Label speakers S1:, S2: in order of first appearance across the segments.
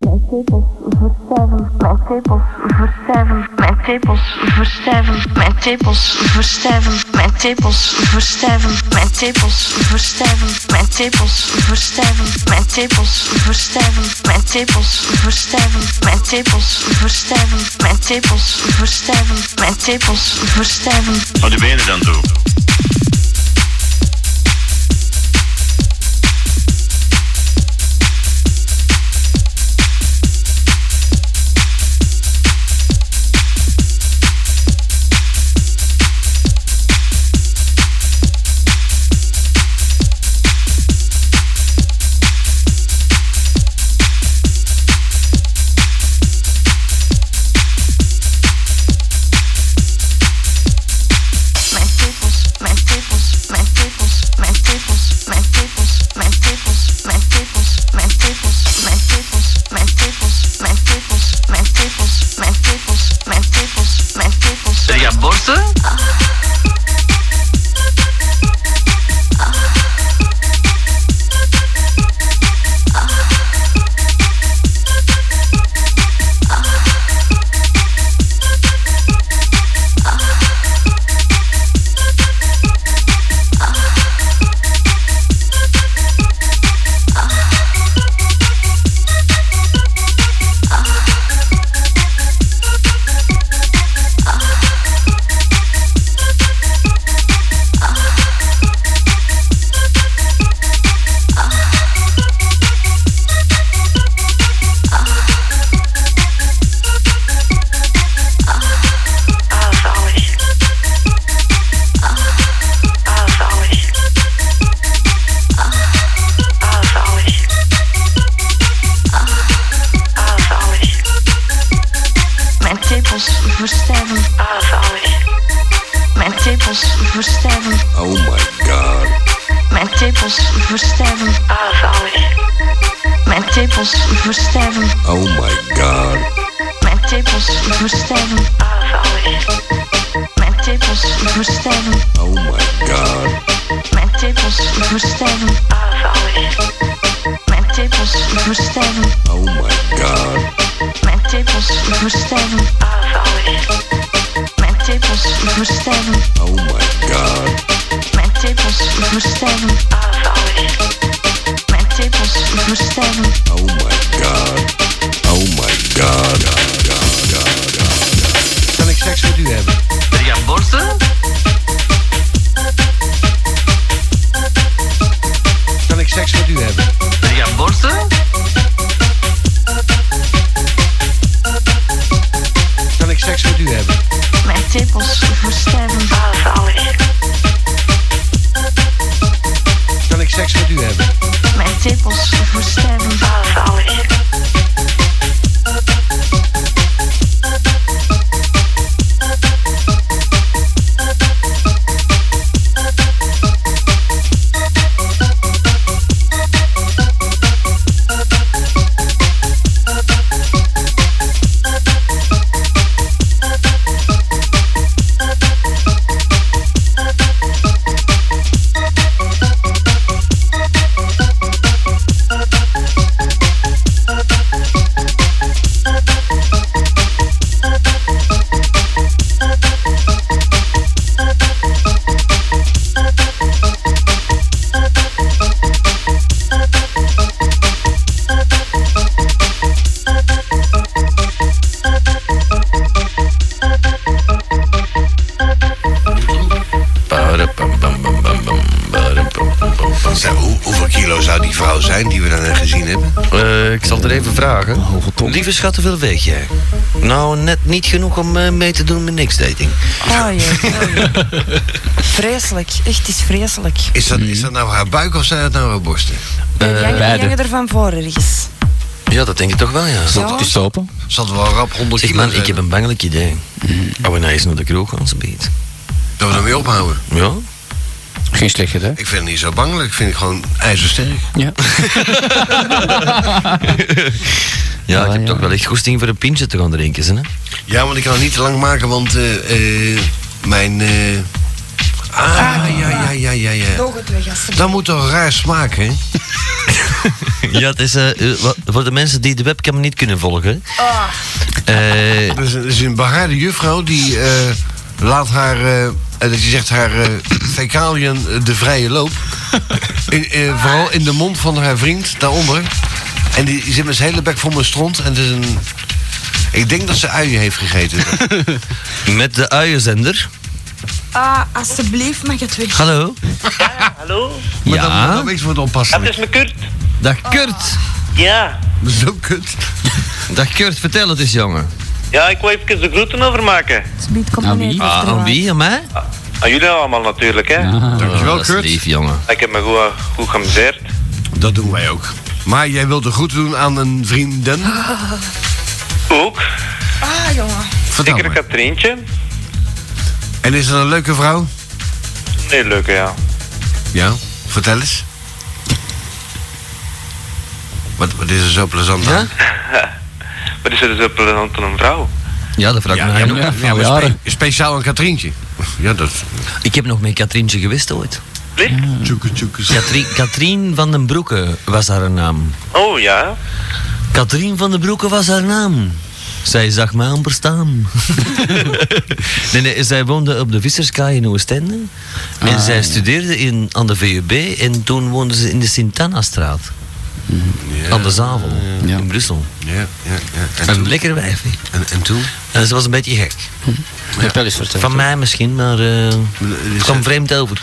S1: tepels, verstijvend mijn tepels, verstijvend mijn tepels, verstijvend mijn tepels, verstijvend mijn tepels, verstijvend mijn tepels, verstijvend mijn tepels, verstijvend mijn tepels, verstijvend mijn tepels, verstijvend mijn tepels, verstijvend mijn tepels, verstijvend mijn tepels, verstijvend.
S2: Wat doe je er dan toe?
S1: Mijn tepels, mijn tepels, mijn tepels, mijn tepels, mijn tepels, mijn tepels, mijn tepels, mijn tepels, mijn tepels, mijn tepels, mijn tepels, mijn tepels, mijn tepels, mijn tepels, mijn tepels.
S3: Zeg jij borsten?
S4: Alles, alles. Alles, alles. Alles, alles. Alles, alles.
S1: Mijn tepels verstijven,
S4: Alles, alles.
S1: mijn tepels verstijven,
S5: Oh my god.
S1: mijn tepels verstijven,
S4: Alles, alles.
S1: mijn tepels verstijven,
S5: Oh my god.
S1: mijn tepels verstijven,
S4: Alles, alles.
S1: mijn tepels verstijven,
S5: Oh my god.
S1: mijn tepels verstijven,
S4: Alles, alles.
S1: mijn tepels verstijven.
S5: Oh my god.
S1: Mijn tepels verstijven,
S4: Alles, alles.
S1: mijn tepels verstijven,
S5: Oh my god.
S1: mijn tepels verstijven,
S4: Alles, alles.
S1: mijn tepels verstijven,
S5: Oh my god. Oh my god. God, God, God, God.
S6: Kan ik seks met u hebben?
S3: Zeg jij borsten?
S6: Kan ik seks met u hebben?
S3: Zeg jij borsten?
S6: Kan ik seks met u hebben?
S1: mijn tepels verstijven,
S4: Alles, alles.
S6: Kan ik seks met u hebben?
S1: mijn tepels verstijven,
S4: Alles, alles.
S6: Zo, hoe, hoeveel kilo zou die vrouw zijn die we dan gezien hebben?
S7: Eh, ik zal het er even vragen.
S8: Hoeveel ton?
S7: Lieve schat, hoeveel weeg jij? Nou, net niet genoeg om eh, mee te doen met niks dating.
S9: Oh jee. oh jee. Vreselijk. Echt, het is vreselijk.
S6: Is dat, is dat nou haar buik of zijn dat nou haar borsten?
S9: Die hangen- die
S8: beide.
S9: hangen er van voor ergens.
S7: Ja, dat denk ik toch wel, ja.
S9: Ja.
S8: Is het open?
S6: Zal het wel rap 100
S7: Zeg
S6: kilo
S7: man,
S6: zijn?
S7: ik heb een bangelijk idee. Oh, en hij is naar de kroeg aan zijn beet.
S6: Dat we ermee ophouden.
S7: Ja?
S8: Geen slecht idee.
S6: Ik vind het niet zo bangelijk. Ik vind het gewoon ijzersterk.
S8: Ja.
S7: Ja, ik heb
S8: ja.
S7: toch wel echt goesting voor een pintje te gaan drinken, hè?
S6: Ja, want ik kan het niet te lang maken, want eh, eh, mijn eh, Ah, ja, ja, ja, ja, ja.
S9: Nog het weg, alsjeblieft.
S6: Dat moet toch raar smaken, hè?
S7: Ja, het is eh, eh, wat- voor de mensen die de webcam niet kunnen volgen. Eh,
S6: Er is, er Dus is een behaarde juffrouw die eh, laat haar, eh, eh, dat je zegt haar eh, fecaliën eh, de vrije loop. In, eh, vooral in de mond van haar vriend daaronder. En die zit met zijn hele bek vol met stront. En het is een. Ik denk dat ze uien heeft gegeten.
S7: met de uienzender.
S9: Ah, alsjeblieft, mag het weg.
S7: Hallo.
S2: Hallo,
S6: Maar dan moet
S7: Ja.
S6: er dan niks worden
S2: dat
S6: oppassen.
S2: is mijn Kurt.
S7: Dag Kurt.
S2: Ja.
S6: Dat is ook kut.
S7: Dag Kurt, vertel het eens jongen.
S2: Ja, ik wil even de groeten overmaken.
S9: Alsjeblieft, komt
S8: Aan
S9: meneer
S8: wie?
S9: Kurt
S7: Ah,
S9: eraan.
S7: aan wie? Aan mij?
S2: Aan jullie allemaal natuurlijk, hè.
S6: Dankjewel,
S7: Oh, dat is
S6: Kurt.
S7: lief jongen.
S2: Ik heb me goed, eh, goed geamuseerd.
S6: Dat doen wij ook. Maar jij wilt er goed doen aan een vrienden.
S2: Ook.
S9: Ah, jongen.
S6: Vertel
S2: Zeker
S6: maar.
S2: Katrientje.
S6: En is het een leuke vrouw?
S2: Nee, leuke, ja.
S6: Ja. Vertel eens. Wat, wat is er zo plezant aan?
S7: Ja?
S2: Wat is er dus plezant aan een vrouw?
S7: Ja, dat vraag ik me
S8: ja,
S7: eigenlijk
S8: maar-
S7: ook.
S8: van
S6: maar spe-
S8: jaren.
S6: speciaal aan Katrientje. Ja, dat is...
S7: Ik heb nog met Katrientje geweest ooit.
S2: Licht?
S8: Ah.
S6: Tjoeke, tjoeke.
S7: Katrien, Katrien van den Broeke was haar naam.
S2: Oh, ja.
S7: Katrien van den Broeke was haar naam. Zij zag mij amper staan. nee, nee, zij woonde op de Visserskaai in Oostende. En
S8: Ah,
S7: zij studeerde in, aan de VUB. En toen woonde ze in de Sint-Anna-straat. Aan de Zavel,
S8: ja.
S7: in Brussel.
S6: Ja, ja, ja. En
S7: Een
S6: toen?
S7: lekkere wijf. hè.
S6: En, en toen?
S7: En ze was een beetje gek.
S8: Vertel eens, vertel.
S7: Van mij misschien, maar eh het kwam vreemd over.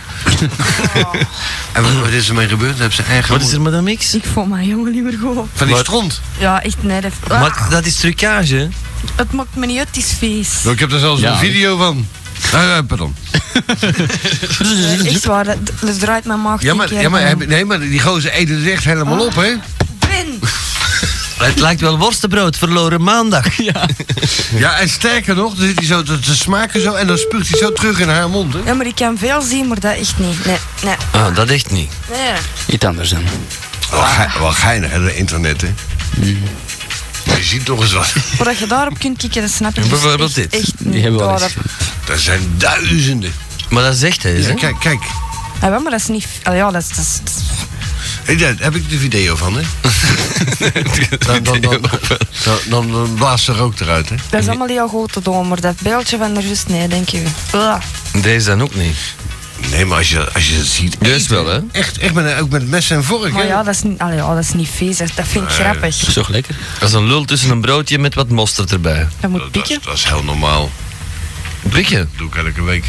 S6: En wat, wat is er mee gebeurd? Hebben ze eigen...
S7: Wat is er met dat mix?
S9: Ik vond mijn jongen liever gewoon.
S6: Van die
S7: Wat?
S6: stront.
S9: Ja, echt net. even- Ah,
S7: Maar dat is trucage. hè?
S9: het maakt me niet uit, het is feest.
S6: Nou, Ik heb daar zelfs
S8: Ja.
S6: een video van. Ah, eh, pardon.
S9: Eh, Echt waar, dat, dat draait mijn maag
S6: Ja,
S9: tien
S6: maar,
S9: keer
S6: ja, maar,
S9: om.
S6: heb- nee, maar die gozer eet het echt helemaal
S7: Oh.
S6: op, hè?
S9: Ben!
S7: Het lijkt wel worstenbrood, verloren maandag.
S6: Ja, en sterker nog, dan zit hij zo te, te smaken zo en dan spuugt hij zo terug in haar mond, hè?
S9: Ja, maar ik kan veel zien, maar dat echt niet. Nee, nee,
S7: Ah, dat echt niet.
S9: nee.
S8: Iets anders dan.
S6: Wel, ge- wel geinig, hè, dat internet, hè? Je ziet nog eens wat.
S9: Voordat je daarop kunt kijken, dat snap ik
S7: Ja,
S9: dus
S7: bijvoorbeeld
S9: echt,
S7: dit.
S9: Echt niet.
S8: Die hebben we al
S9: Ja,
S8: eens.
S9: dat-
S6: Er zijn duizenden.
S7: Maar dat zegt hij,
S6: Ja,
S7: hè?
S6: kijk, kijk.
S9: Ah, wel, maar dat is niet... ah, ja, dat is... Dat is- dat is-
S6: Hé, daar heb ik de video van, hè? Dan, dan, dan, dan, dan, dan blaast er ook eruit, hè?
S9: dat is allemaal heel goed te doen, maar dat beeldje van de rust, nee, denk je. Ah.
S7: Deze dan ook niet.
S6: Nee, maar als je, als je dat ziet...
S7: Dus wel, hè?
S6: Echt, echt met, ook met mes en vork,
S9: Maar
S6: hè?
S9: ja, dat is niet, allee, ja, dat is niet vies, dat dat vind ik grappig.
S8: Is toch lekker?
S7: Dat is een lul tussen een broodje met wat mosterd erbij.
S9: Dat moet
S6: Dat, dat,
S9: pikken.
S6: is- dat is heel normaal.
S7: Prikken?
S6: Dat doe ik elke week.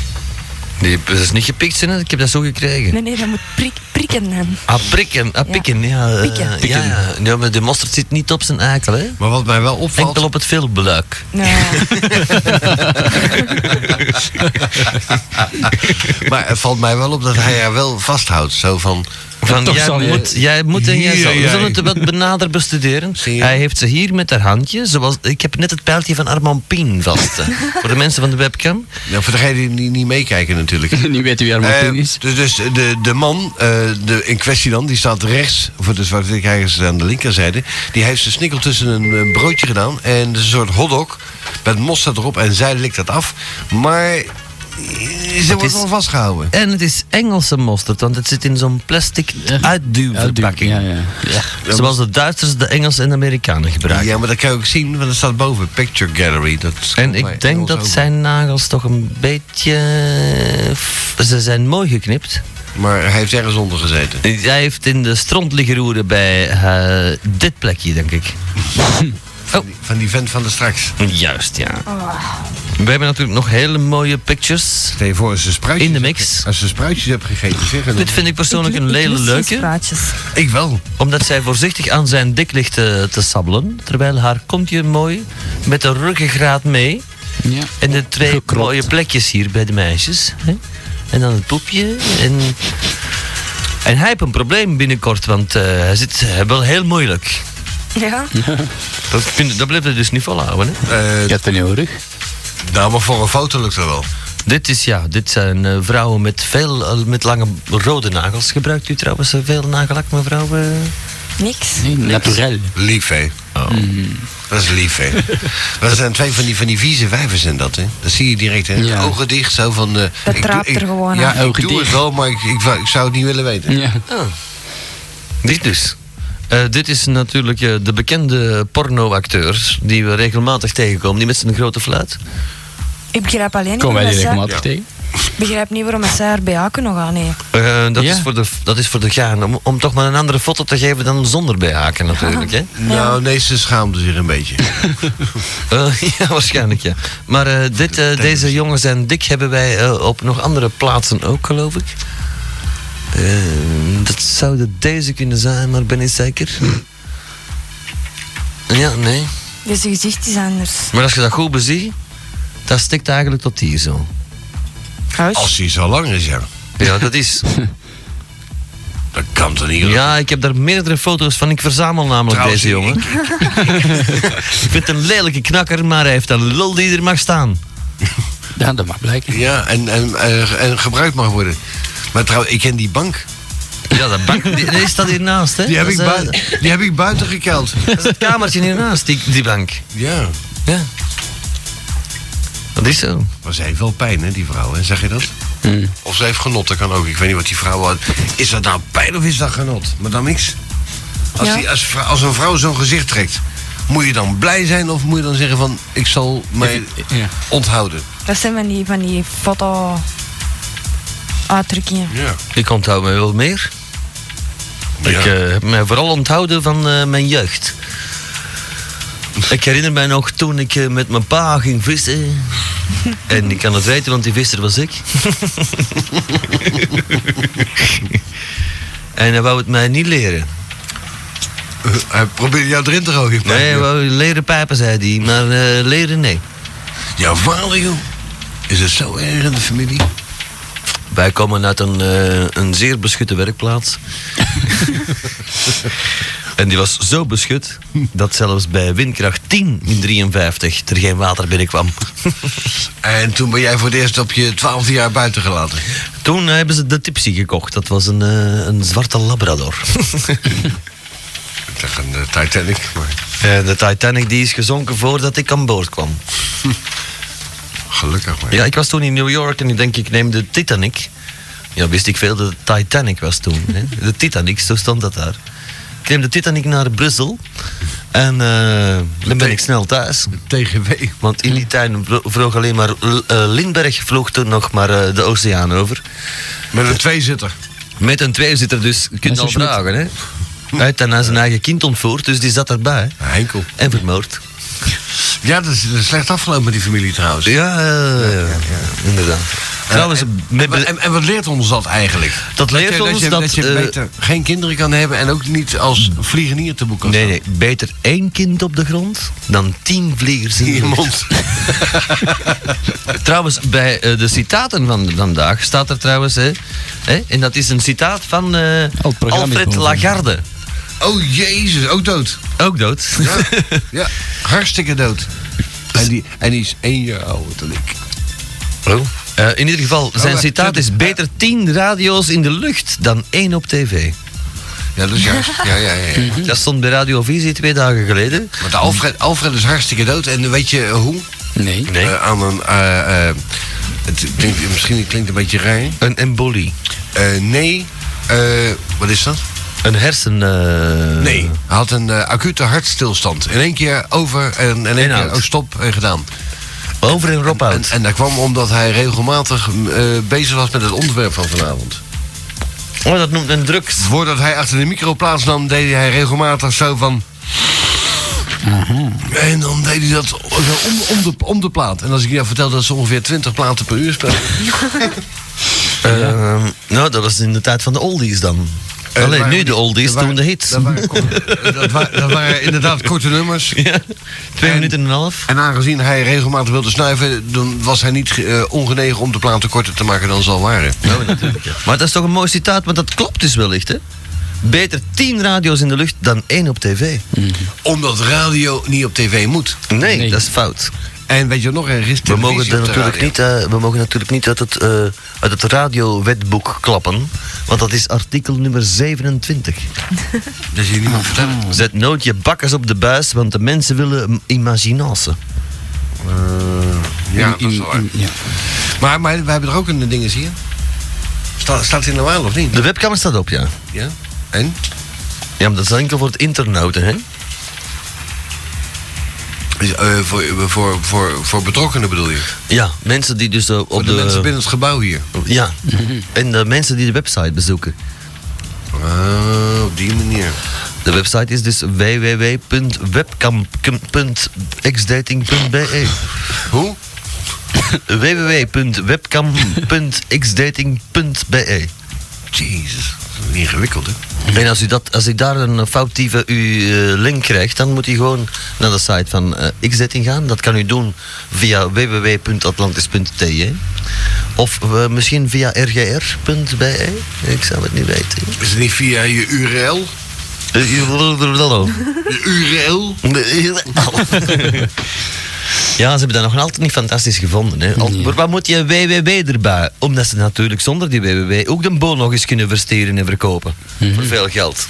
S7: Die dat is niet gepikt, zijn, hè? ik heb dat zo gekregen.
S9: Nee, nee, dat moet prik, prikken dan.
S7: Ah, prikken, ah, pikken, ja. eh,
S9: Pikken.
S7: Ja, ja. ja, maar de mosterd zit niet op zijn eikel, hè?
S6: Maar wat mij wel opvalt...
S7: Enkel op het filmbeluik.
S9: Nee.
S6: Maar het valt mij wel op dat hij haar wel vasthoudt. Zo van...
S7: Van,
S8: toch
S7: jij,
S8: zal je-
S7: moet, jij moet en jij
S6: Hier,
S7: zal. We
S6: jij.
S7: zullen het wat benader bestuderen.
S6: Zie je?
S7: Hij heeft ze hier met haar handje. Zoals, ik heb net het pijltje van Armand Pien vast. hè. Voor de mensen van de webcam.
S6: Nou, voor degenen die niet- niet meekijken natuurlijk.
S8: nu weet u wie
S6: Eh,
S8: Armand is.
S6: dus dus de, de man eh, de, in kwestie dan, die staat rechts, voor de zwarte kijkers aan de linkerzijde. Die heeft zijn snikkel tussen een, eh, broodje gedaan en een soort hotdog met mosterd erop. En zij likt dat af, maar eh, ze wordt
S7: is-
S6: wel vastgehouden.
S7: En het is Engelse mosterd, want het zit in zo'n plastic uitduwverpakking.
S8: Ja, ja.
S7: Zoals de Duitsers, de Engelsen en de Amerikanen gebruiken.
S6: Ja, maar dat kan je ook zien, want dat staat boven, Picture Gallery. Oh, Dat
S7: En
S6: maar
S7: ik denk
S6: Engels
S7: dat
S6: ook.
S7: zijn nagels toch een beetje... Ze zijn mooi geknipt.
S6: Maar hij heeft ergens onder gezeten.
S7: Hij heeft in de stront liggen roeren bij eh, dit plekje, denk ik.
S6: Van die vent van de straks.
S7: Juist, ja. We hebben natuurlijk nog hele mooie pictures.
S6: Stel je voor, als ze spruitjes,
S7: In de mix.
S6: Als ze spruitjes hebt gegeten, zeg het
S7: Dit
S6: dan.
S7: vind ik persoonlijk
S9: Ik-
S7: een
S9: ik
S7: hele
S9: lust geen
S7: leuke.
S9: Spraatjes.
S6: Ik wel.
S7: Omdat zij voorzichtig aan zijn dik ligt te, te sabbelen. Terwijl haar kontje mooi met de ruggengraat mee.
S8: ja.
S7: En de twee
S8: Gekropt.
S7: mooie plekjes hier bij de meisjes. Hè? En dan het poepje. En, en hij heeft een probleem binnenkort, want eh, hij zit eh, wel heel moeilijk.
S9: Ja,
S7: Dat, vind, dat blijft hij dus niet volhouden. Hè?
S6: Eh,
S8: Je had van jouw rug.
S6: Nou, maar voor een foto lukt dat wel.
S7: Dit, is, ja, dit zijn eh, vrouwen met, veel, eh, met lange rode nagels. Gebruikt u trouwens eh, veel nagellak, mevrouw? eh?
S9: Niks.
S8: Nee, naturel.
S6: Lief, hè? Oh.
S7: Mm.
S6: Dat is lief, hè? dat zijn twee van die, van die vieze wijven zijn dat, hè? Dat zie je direct, hè?
S8: Ja.
S6: Ogen dicht, zo van... eh,
S9: Dat
S6: ik
S9: traapt
S6: doe-
S9: er
S6: ik-
S9: gewoon
S6: Ja,
S9: aan.
S6: ik
S8: Ogen
S6: doe het
S8: dicht.
S6: wel, maar ik, ik, wou- ik zou het niet willen weten.
S8: Ja.
S7: Dit dus. Eh, dit is natuurlijk eh, de bekende pornoacteurs die we regelmatig tegenkomen, die met zijn grote fluit.
S9: Ik begrijp alleen niet,
S8: Komen wij
S9: waarom
S8: die
S9: zij,
S8: regelmatig tegen?
S9: begrijp niet waarom zij haar BA kunnen gaan. Nee.
S7: Eh, dat,
S8: Ja.
S7: is voor de, dat is voor de gaan, om, om toch maar een andere foto te geven dan zonder bijhaken natuurlijk. Hè?
S6: Nou, nee, ze schaamde zich een beetje.
S7: Eh, ja, waarschijnlijk ja. Maar eh, dit, eh, deze jongens en Dick hebben wij eh, op nog andere plaatsen ook, geloof ik. Eh, dat zouden deze kunnen zijn, maar ik ben niet zeker. Ja, nee.
S9: Dus je gezicht is anders.
S7: Maar als je dat goed beziet, dat stikt eigenlijk tot hier zo.
S9: Huis.
S6: Als hij zo lang is, ja.
S7: Ja, dat is.
S6: Dat kan toch niet?
S7: Ja, ik heb daar meerdere foto's van. Ik verzamel namelijk
S6: Trouwens,
S7: deze jongen. Ik... vind het een lelijke knakker, maar hij heeft een lul die er mag staan.
S8: Ja, dat mag blijken.
S6: Ja, en, en, eh, en gebruikt mag worden. Maar trouwens, ik ken die bank.
S7: Ja, dat bank die, die staat hiernaast, hè?
S6: Die heb,
S7: Dat
S6: ik,
S7: is, eh,
S6: buiten, die heb ik buiten gekeld.
S7: Dat is het kamertje hiernaast, die, die bank.
S6: Ja.
S7: Ja. Dat is zo.
S6: Maar ze heeft wel pijn, hè, die vrouw, hè? zeg je dat?
S8: Hmm.
S6: Of ze heeft genot, dat kan ook. Ik weet niet wat die vrouw had. Is dat nou pijn of is dat genot? Maar dan niks. Als,
S9: Ja.
S6: die, als, vrou- als een vrouw zo'n gezicht trekt, moet je dan blij zijn of moet je dan zeggen van... ik zal mij
S8: Ja.
S6: onthouden?
S9: Dat zijn van die, van die foto-uitdrukkingen.
S6: Ja.
S7: Ik onthoud mij wel meer. Ik
S6: Ja.
S7: eh, heb mij vooral onthouden van eh, mijn jeugd. Ik herinner mij nog toen ik eh, met mijn pa ging vissen. En ik kan het weten, want die visser was ik. en hij wou het mij niet leren.
S6: Hij probeerde jou erin te gooien.
S7: Nee, hij wou leren pijpen, zei hij. Maar eh, leren, nee.
S6: Jouw vader, joh. Is het zo erg in de familie?
S7: Wij komen uit een, eh, een zeer beschutte werkplaats. en die was zo beschut dat zelfs bij windkracht 10 in 53 er geen water binnenkwam.
S6: En toen ben jij voor het eerst op je twaalfde jaar buiten gelaten.
S7: Toen eh, hebben ze de Tipsy gekocht. Dat was een, eh, een zwarte labrador.
S6: Ik dacht aan de eh, Titanic, maar
S7: Eh, de Titanic die is gezonken voordat ik aan boord kwam.
S6: gelukkig maar.
S7: Ja, ik was toen in New York en ik denk ik neem de Titanic. Ja, wist ik veel dat het Titanic was toen. Hè? De Titanic, zo stond dat daar. Ik neem de Titanic naar Brussel en eh, dan ben ik snel thuis.
S6: TGW.
S7: Want in die tijd vlo- vloog alleen maar L- eh, Lindbergh vloog toen nog maar eh, de oceaan over.
S6: Met een tweezitter.
S7: Met een tweezitter dus, je kunt
S8: is
S7: al
S8: een schmid.
S7: vragen hè. Uit en hij zijn eigen kind ontvoerd, dus die zat erbij.
S6: Henkel.
S7: En vermoord.
S6: Ja, dat is, dat is slecht afgelopen met die familie trouwens.
S7: Ja, eh, inderdaad. Trouwens, met,
S6: En, en wat leert ons dat eigenlijk?
S7: Dat leert
S6: je,
S7: ons
S6: je,
S7: dat,
S6: je
S7: eh,
S6: beter geen kinderen kan hebben en ook niet als vliegenier te boeken.
S7: Nee, nee, beter één kind op de grond dan tien vliegers in de lucht.
S6: Iemand.
S7: Trouwens, bij eh, de citaten van vandaag staat er trouwens, hè, hè, en dat is een citaat van eh,
S8: Oh, het programma is
S7: Alfred
S8: begonnen.
S7: Lagarde.
S6: Oh jezus, ook dood.
S7: Ook dood.
S6: Ja, ja hartstikke dood. En die, en die is één jaar ouder dan ik. Oh.
S7: Eh, in ieder geval, zijn
S6: wacht,
S7: citaat is
S6: verder.
S7: beter tien radio's in de lucht dan één op tv.
S6: Ja, dat is juist. Ja, ja, ja. ja.
S7: Dat stond bij Radiovisie twee dagen geleden.
S6: Want Alfred, Alfred is hartstikke dood. En weet je hoe?
S8: Nee.
S7: Nee.
S6: Eh, aan een... eh, eh, het klinkt, misschien klinkt het een beetje raar.
S7: Een embolie.
S6: Eh, nee. eh, wat is dat?
S7: Een hersen... eh,
S6: Nee. Hij had een eh, acute hartstilstand. In één keer over en in één
S7: Inhoud.
S6: keer oh, stop en gedaan.
S7: Over en Rob
S6: En, en dat kwam omdat hij regelmatig mm, eh, bezig was met het onderwerp van vanavond.
S7: Oh, dat noemt men drugs.
S6: Voordat hij achter de micro plaatsnam, deed hij regelmatig zo van...
S7: Mhm.
S6: En dan deed hij dat zo om, om, de, om de plaat. En als ik jou vertel dat ze ongeveer 20 platen per uur spelen...
S7: Eh, Ehm, nou, dat was in de tijd van de oldies dan.
S6: eh,
S7: Alleen
S6: waren
S7: nu
S6: die-
S7: de oldies,
S6: dat waren-
S7: toen de hits.
S6: Dat waren, kort- dat wa- dat waren inderdaad korte nummers.
S7: Ja, twee
S6: En-
S7: minuten en een half.
S6: En aangezien hij regelmatig wilde snuiven, dan was hij niet eh, ongenegen om de platen korter te maken dan ze al waren.
S7: Maar dat is toch een mooi citaat, want dat klopt dus wellicht, hè? Beter tien radio's in de lucht dan één op tv.
S6: Omdat radio niet op tv moet.
S7: Nee,
S8: Nee.
S7: dat is fout.
S6: En weet je wat nog erg is?
S7: We
S6: Televisie
S7: mogen, er
S6: op de
S7: natuurlijk
S6: radio.
S7: niet, eh, we mogen natuurlijk niet uit het, eh, uit het radiowetboek klappen Want dat is artikel nummer 27.
S6: Dat je
S7: Mm.
S6: niemand vertellen.
S7: Zet nooit je bakkers op de buis, want de mensen willen imaginatie.
S6: Ja,
S8: In-
S6: dat is
S8: in-
S6: wel waar.
S8: in- ja.
S6: Maar, maar we hebben er ook een ding eens hier. Sta- staat het in de waan of niet?
S7: De webcam staat op, ja.
S6: Ja. En?
S7: Ja, maar dat is enkel voor het internauten, hè?
S6: Is, eh, voor, voor, voor, voor betrokkenen bedoel je?
S7: Ja, mensen die dus eh,
S6: Voor
S7: op
S6: de,
S7: de...
S6: mensen binnen het gebouw hier.
S7: Ja, en de mensen die de website bezoeken.
S6: Ah, op die manier.
S7: De website is dus www.webcam.xdating.be
S6: Hoe?
S7: www.webcam.xdating.be
S6: Jezus, dat is ingewikkeld hè.
S7: En als u, dat, als u daar een foutieve u, eh, link krijgt, dan moet u gewoon naar de site van eh Xdating gaan. Dat kan u doen via www.atlantis.te of eh, misschien via rgr.be. Ik zou het niet weten.
S6: Is het niet via je URL? Je URL?
S7: Ja, ze hebben dat nog altijd niet fantastisch gevonden. Hè. Al- Maar wat moet je WWW erbij? Omdat ze natuurlijk zonder die WWW ook de boon nog eens kunnen versteren en verkopen. Voor veel geld.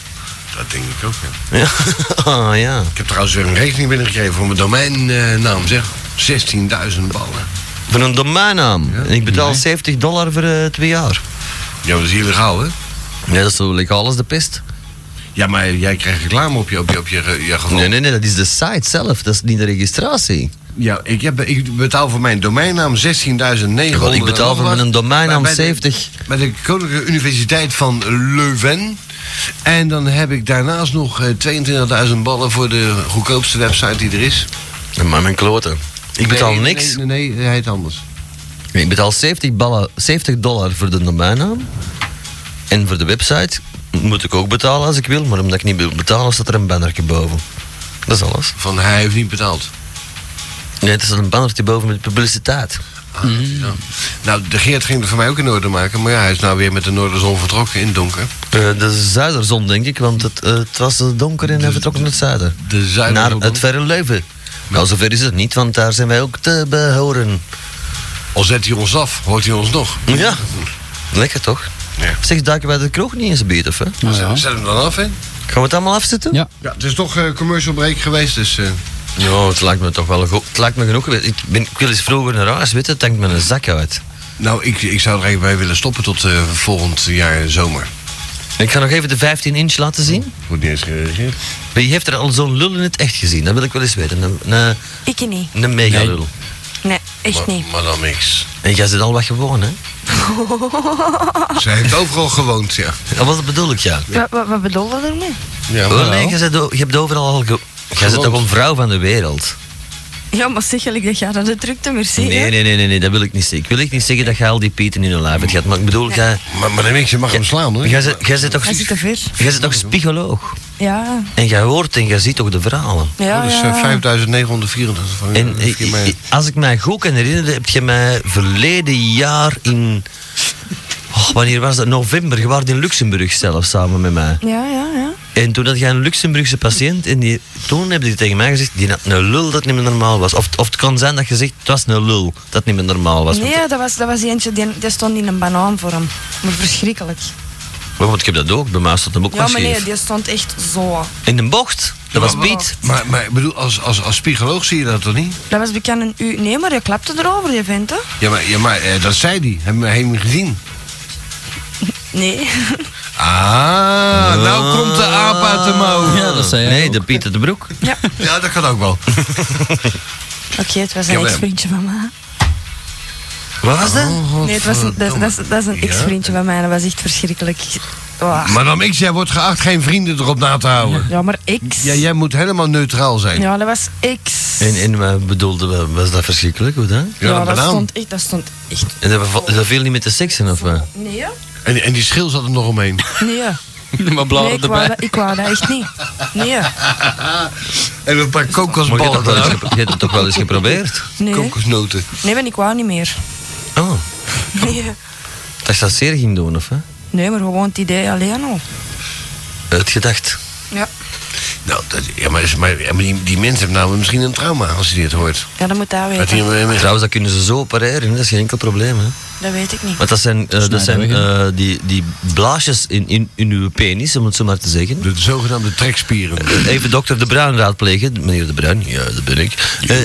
S6: Dat denk ik ook. Hè.
S7: Ja. Ah, ja.
S6: Ik heb trouwens weer een rekening binnengekregen voor mijn domeinnaam zeg. 16.000 ballen.
S7: Voor een domeinnaam. En ik betaal 70 dollar voor eh, twee jaar.
S6: Ja, dat is illegaal hè?
S7: Nee, dat is zo legaal als de pest.
S6: Ja, maar jij krijgt reclame op je, op je, op je, ge- je geval.
S7: Nee, nee, nee, dat is de site zelf. Dat is niet de registratie.
S6: Ja, ik, heb, ik betaal voor mijn domeinnaam 16.900.
S7: Ja, ik betaal voor mijn domeinnaam
S6: Bij- bij de-
S7: 70.
S6: Bij de Koninklijke Universiteit van Leuven. En dan heb ik daarnaast nog eh, 22.000 ballen voor de goedkoopste website die er is.
S7: Maar mijn kloten. Ik betaal
S6: Nee,
S7: niks.
S6: Nee, nee, nee, hij heet anders.
S7: Ik betaal 70, ballen, 70 dollar voor de domeinnaam. En voor de website moet ik ook betalen als ik wil. Maar omdat ik niet wil betalen, staat er een bannertje boven. Dat is alles.
S6: Van hij heeft niet betaald.
S7: Nee, het is een bannertje boven met publiciteit.
S6: Ah,
S7: Mm-hmm.
S6: ja. Nou, de Geert ging er voor mij ook in orde maken. Maar ja, hij is nou weer met de Noorderzon vertrokken in het donker.
S7: Eh, de zuiderzon, denk ik, want het, eh, het was donker en Dus- hij vertrok naar het zuiden.
S6: de
S7: Naar
S6: zuiderzon.
S7: het verre Leuven. Nou, zover is het niet, want daar zijn wij ook te behoren.
S6: Al zet hij ons af, hoort hij ons nog.
S7: Ja, lekker toch?
S6: Ja.
S7: Zeg, duiken wij de kroeg niet eens beet, of hè?
S8: Nou ja.
S6: Zet hem dan af, hè?
S7: Gaan we het allemaal afzetten?
S8: Ja.
S6: Ja, het is toch eh, commercial break geweest, dus... eh,
S7: Ja, het lijkt me toch wel goed. Het lijkt me genoeg. geweest. Ik, ben, ik wil eens vroeger naar huis, weet je, het hangt me een zak uit.
S6: Nou, ik, ik zou er eigenlijk bij willen stoppen tot eh, volgend jaar zomer.
S7: Ik ga nog even de 15 inch laten zien.
S6: Wordt niet eens gereageerd.
S7: Wie heeft er al zo'n lul in het echt gezien? Dat wil ik wel eens weten. Een, een,
S9: Ik niet.
S7: een mega lul.
S9: Nee, echt niet.
S6: Maar, maar dan niks.
S7: En jij zit al wat gewoon, hè?
S9: Oh.
S6: Zij heeft overal gewoond, ja.
S7: Ja, Wat bedoel ik, ja?
S9: Wat, wat, wat bedoel je ermee?
S6: Ja,
S7: Oh, nee, jij zit o- je hebt overal al ge- Jij zit
S6: Gewoond.
S7: toch een vrouw van de wereld?
S9: Ja, maar zeg gelijk dat jij dat de drukte maar zeggen.
S7: Nee, nee, nee, nee, nee, dat wil ik niet zeggen. Ik wil echt niet zeggen dat jij al die pieten in je lijf hebt gehad. Maar ik bedoel, jij...
S6: Maar, maar dan niks, je mag hem slaan, hoor.
S7: Jij zit, jij zit toch...
S9: Hij zit te ver.
S7: Jij zit toch spiegoloog?
S9: Ja,
S7: En jij hoort en jij ziet toch de verhalen?
S9: ja,
S6: dat is
S9: ja.
S6: eh, 5934 van
S7: En
S6: eh,
S7: eh,
S6: vier mei.
S7: eh, als ik mij goed kan herinneren, heb je mij verleden jaar in. Oh, wanneer was dat? November. Je was in Luxemburg zelf samen met mij.
S9: Ja, ja, ja.
S7: En toen had jij een Luxemburgse patiënt. En die, toen heb je tegen mij gezegd: die had een lul dat niet meer normaal was. Of, of het kan zijn dat je zegt: het was een lul dat niet meer normaal was. Want-
S9: Nee, dat was, dat was eentje, die, die stond in een banaan voor hem. Maar verschrikkelijk.
S7: Maar want ik heb dat ook. Bij mij stond hem ook
S9: Ja,
S7: maar
S9: maar nee,
S7: scheef.
S9: die stond echt zo.
S7: In een bocht. Dat was Piet.
S6: Maar, maar ik bedoel, als, als, als psycholoog zie je dat toch niet?
S9: Dat was bekend een u. Nee, maar je klapte erover, je vindt hè?
S6: Ja, maar, ja, maar eh, dat zei die. Hebben we hem gezien?
S9: Nee.
S6: Ah, nou komt de aap uit de mouw.
S8: Ja, dat zei hij
S7: Nee,
S8: ook.
S7: de Piet uit de Broek.
S9: Ja.
S6: Ja, dat kan ook wel.
S9: Oké, het was een
S6: Jawel.
S9: ex-vriendje van mij.
S7: Wat was dat?
S6: Oh,
S9: Nee, het was een, dat, is- dat, is- dat is een ex-vriendje van mij. Dat was echt verschrikkelijk. Wah.
S6: Maar dan X, jij wordt geacht geen vrienden erop na te houden.
S9: Ja, maar ex.
S6: Ja, jij moet helemaal neutraal zijn.
S9: Ja, dat was ex.
S7: En, en wat bedoelde, we- was dat verschrikkelijk? Hoe dan?
S6: Ja, een
S9: dat,
S6: banaan.
S9: stond echt, dat stond echt.
S7: En dat, bevo- dat viel niet met de seksen of wat?
S9: Nee, hè?
S6: En, en die schil zat er nog omheen.
S9: nee. hè?
S8: Maar
S9: Nee,
S8: blaren
S9: ik wou,
S8: erbij.
S9: dat, ik wou dat echt niet. Nee, hè?
S6: En een paar
S7: Maar je hebt,
S6: kokosballen.
S7: toch wel eens
S6: daar.
S7: gepro- je hebt het toch wel eens geprobeerd?
S9: nee. hè?
S6: Kokosnoten.
S9: Nee, ben ik wou niet meer.
S7: Oh,
S9: Nee, hè?
S7: dat je dat zeer ging doen, of hè?
S9: nee maar gewoon het idee alleen al.
S7: Uitgedacht.
S9: Ja.
S6: Nou, dat, ja, maar, is- maar, maar die, die mensen hebben namelijk misschien een trauma als je dit hoort.
S9: Ja, dat moet daar
S6: Dat
S9: weten.
S6: die, eh,
S7: Trouwens, dat kunnen ze zo opereren, hè. dat is geen enkel probleem. Hè.
S9: Dat weet ik niet.
S7: Want dat zijn, eh, dat zijn
S8: Snijden
S7: eh, die, die blaasjes in, in, in uw penis, om het zo maar te zeggen.
S6: de zogenaamde trekspieren.
S7: Even dokter De Bruin raadplegen. Meneer De Bruin, ja, dat ben ik. Eh,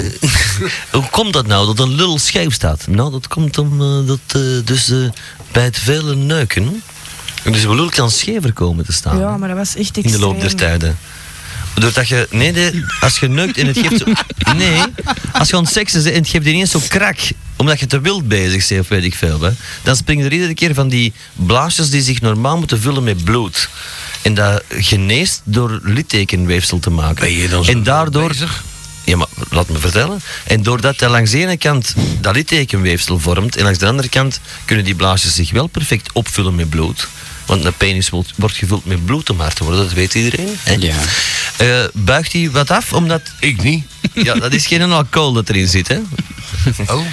S7: hoe komt dat nou, dat een lul scheef staat? Nou, dat komt om, eh, dat, eh, dus eh, bij het vele neuken. Dus de lul kan schever komen te staan.
S9: Ja, maar dat was echt
S7: in de
S9: extreem.
S7: loop der tijden. Doordat je, nee, nee, als je neukt en het geeft zo, nee, als je aan het seksen bent en het geeft ineens zo krak, omdat je te wild bezig bent of weet ik veel, hè, dan springen er iedere keer van die blaasjes die zich normaal moeten vullen met bloed. En dat geneest door littekenweefsel te maken.
S6: Ben je dan zo
S7: en daardoor,
S6: bezig?
S7: Ja, maar laat me vertellen. En doordat dat langs de ene kant dat littekenweefsel vormt, en langs de andere kant kunnen die blaasjes zich wel perfect opvullen met bloed. Want een penis wordt, wordt gevuld met bloed om hard te worden, dat weet iedereen. Hè?
S8: Ja.
S7: Eh, buigt hij wat af, omdat...
S6: Ik niet.
S7: Ja, dat is geen alcohol dat erin zit, hè.
S6: Oh,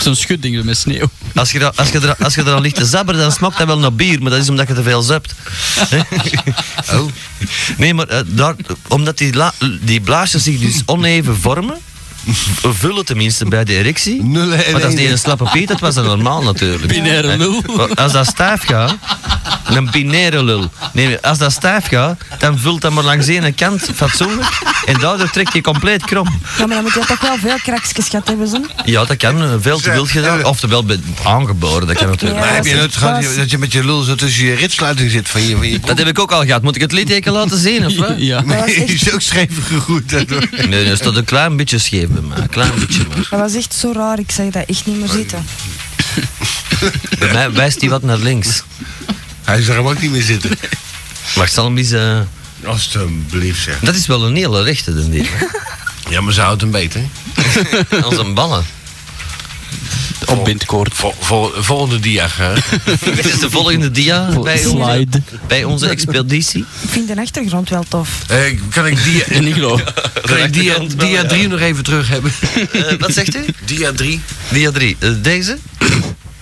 S8: Zo'n schudding met sneeuw.
S7: Als je, da- als je, er- als je eraan ligt te zabberen, dan smaakt dat wel naar bier, maar dat is omdat je te veel zuipt.
S6: oh.
S7: Nee, maar eh, daar, omdat die, la- die blaasjes zich dus oneven vormen, v- vullen tenminste bij de erectie.
S6: Nul en
S7: Maar dat is niet
S6: ene.
S7: een slappe piet, dat was dan normaal natuurlijk.
S8: Binaire
S7: Hè?
S8: lul.
S7: Want Als dat stijf gaat, een binaire lul. Nee, als dat stijf gaat, dan vult dat maar langs de ene kant fatsoenlijk en daardoor trek je compleet krom.
S9: Ja, maar dan moet je toch wel veel kraksjes gehad hebben, zo.
S7: Ja, dat kan. eh, Veel te wild gedaan. Oftewel be- aangeboren, dat kan natuurlijk.
S9: Ja.
S6: Maar heb je
S9: dat
S6: nooit
S9: is
S6: gehad
S9: pas.
S6: dat je met je lul zo tussen je ritsluiting zit van je... Van je
S7: Dat heb ik ook al gehad. Moet ik het litteken laten zien, of wat?
S8: Ja.
S9: Dat was
S6: Nee,
S9: echt-
S6: die is ook scheef gegroeid daardoor.
S7: Nee, nee, dat staat een klein beetje scheef bij mij. Een klein beetje maar.
S9: Dat was echt zo raar, ik zag dat echt niet meer zitten.
S7: Bij mij wijst hij wat naar links.
S6: Hij zou hem ook niet meer zitten.
S7: Maar ik zal hem eens... eh,
S6: Alsjeblieft zeg.
S7: Dat is wel een hele rechte, denk ik.
S6: Ja, maar ze houdt hem beter.
S7: Als een ballen.
S8: Op bindkoord.
S6: Vol, vol, volgende dia graag.
S7: Dit is de volgende dia bij onze,
S8: Slide.
S7: bij onze expeditie.
S9: Ik vind de achtergrond wel tof.
S6: Eh, kan ik dia,
S8: En ik geloof.
S6: kan ik dia, dia 3 nog even terug hebben?
S7: Eh, wat zegt u?
S6: Dia 3?
S7: Dia 3. deze?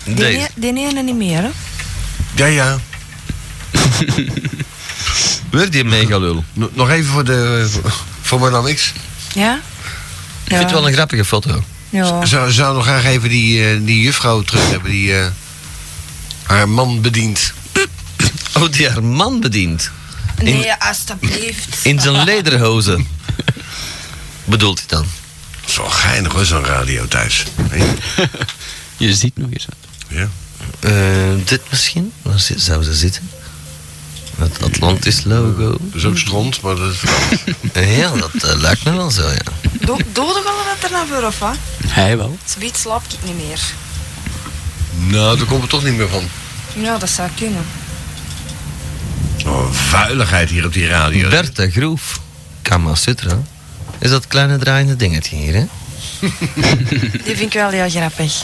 S9: Die,
S7: Deze.
S9: ene- die ene niet meer, hè?
S6: Ja, ja.
S7: Weer die megalul.
S6: N- nog even voor de... Voor Madame X.
S9: Ja?
S7: Ik vind het wel een grappige foto.
S9: Ja.
S6: Zou, zou nog graag even die, eh, die juffrouw terug hebben die eh, haar man bedient.
S7: Oh, die haar man bedient.
S9: Nee, alstublieft.
S7: In zijn lederhozen. Bedoelt hij dan?
S6: Zo geinig hoor, zo'n radio thuis.
S8: Je ziet nog eens.
S6: Ja.
S7: Eh, dit misschien? Waar zi- zou ze zitten? Het Atlantis logo.
S6: Dat is ook stront, maar dat...
S7: Eh, ja, dat eh, lijkt me wel zo, ja.
S9: Do doe toch al wat er naar voor, of wat?
S8: Hij wel.
S9: Zoiets slaap ik niet meer.
S6: Nou, daar komt het toch niet meer van.
S9: Ja, dat zou kunnen.
S6: Oh, vuiligheid hier op die radio.
S7: Bertha Groef. Kama Sutra. Is dat kleine draaiende dingetje hier, hè?
S9: Die vind ik wel heel grappig.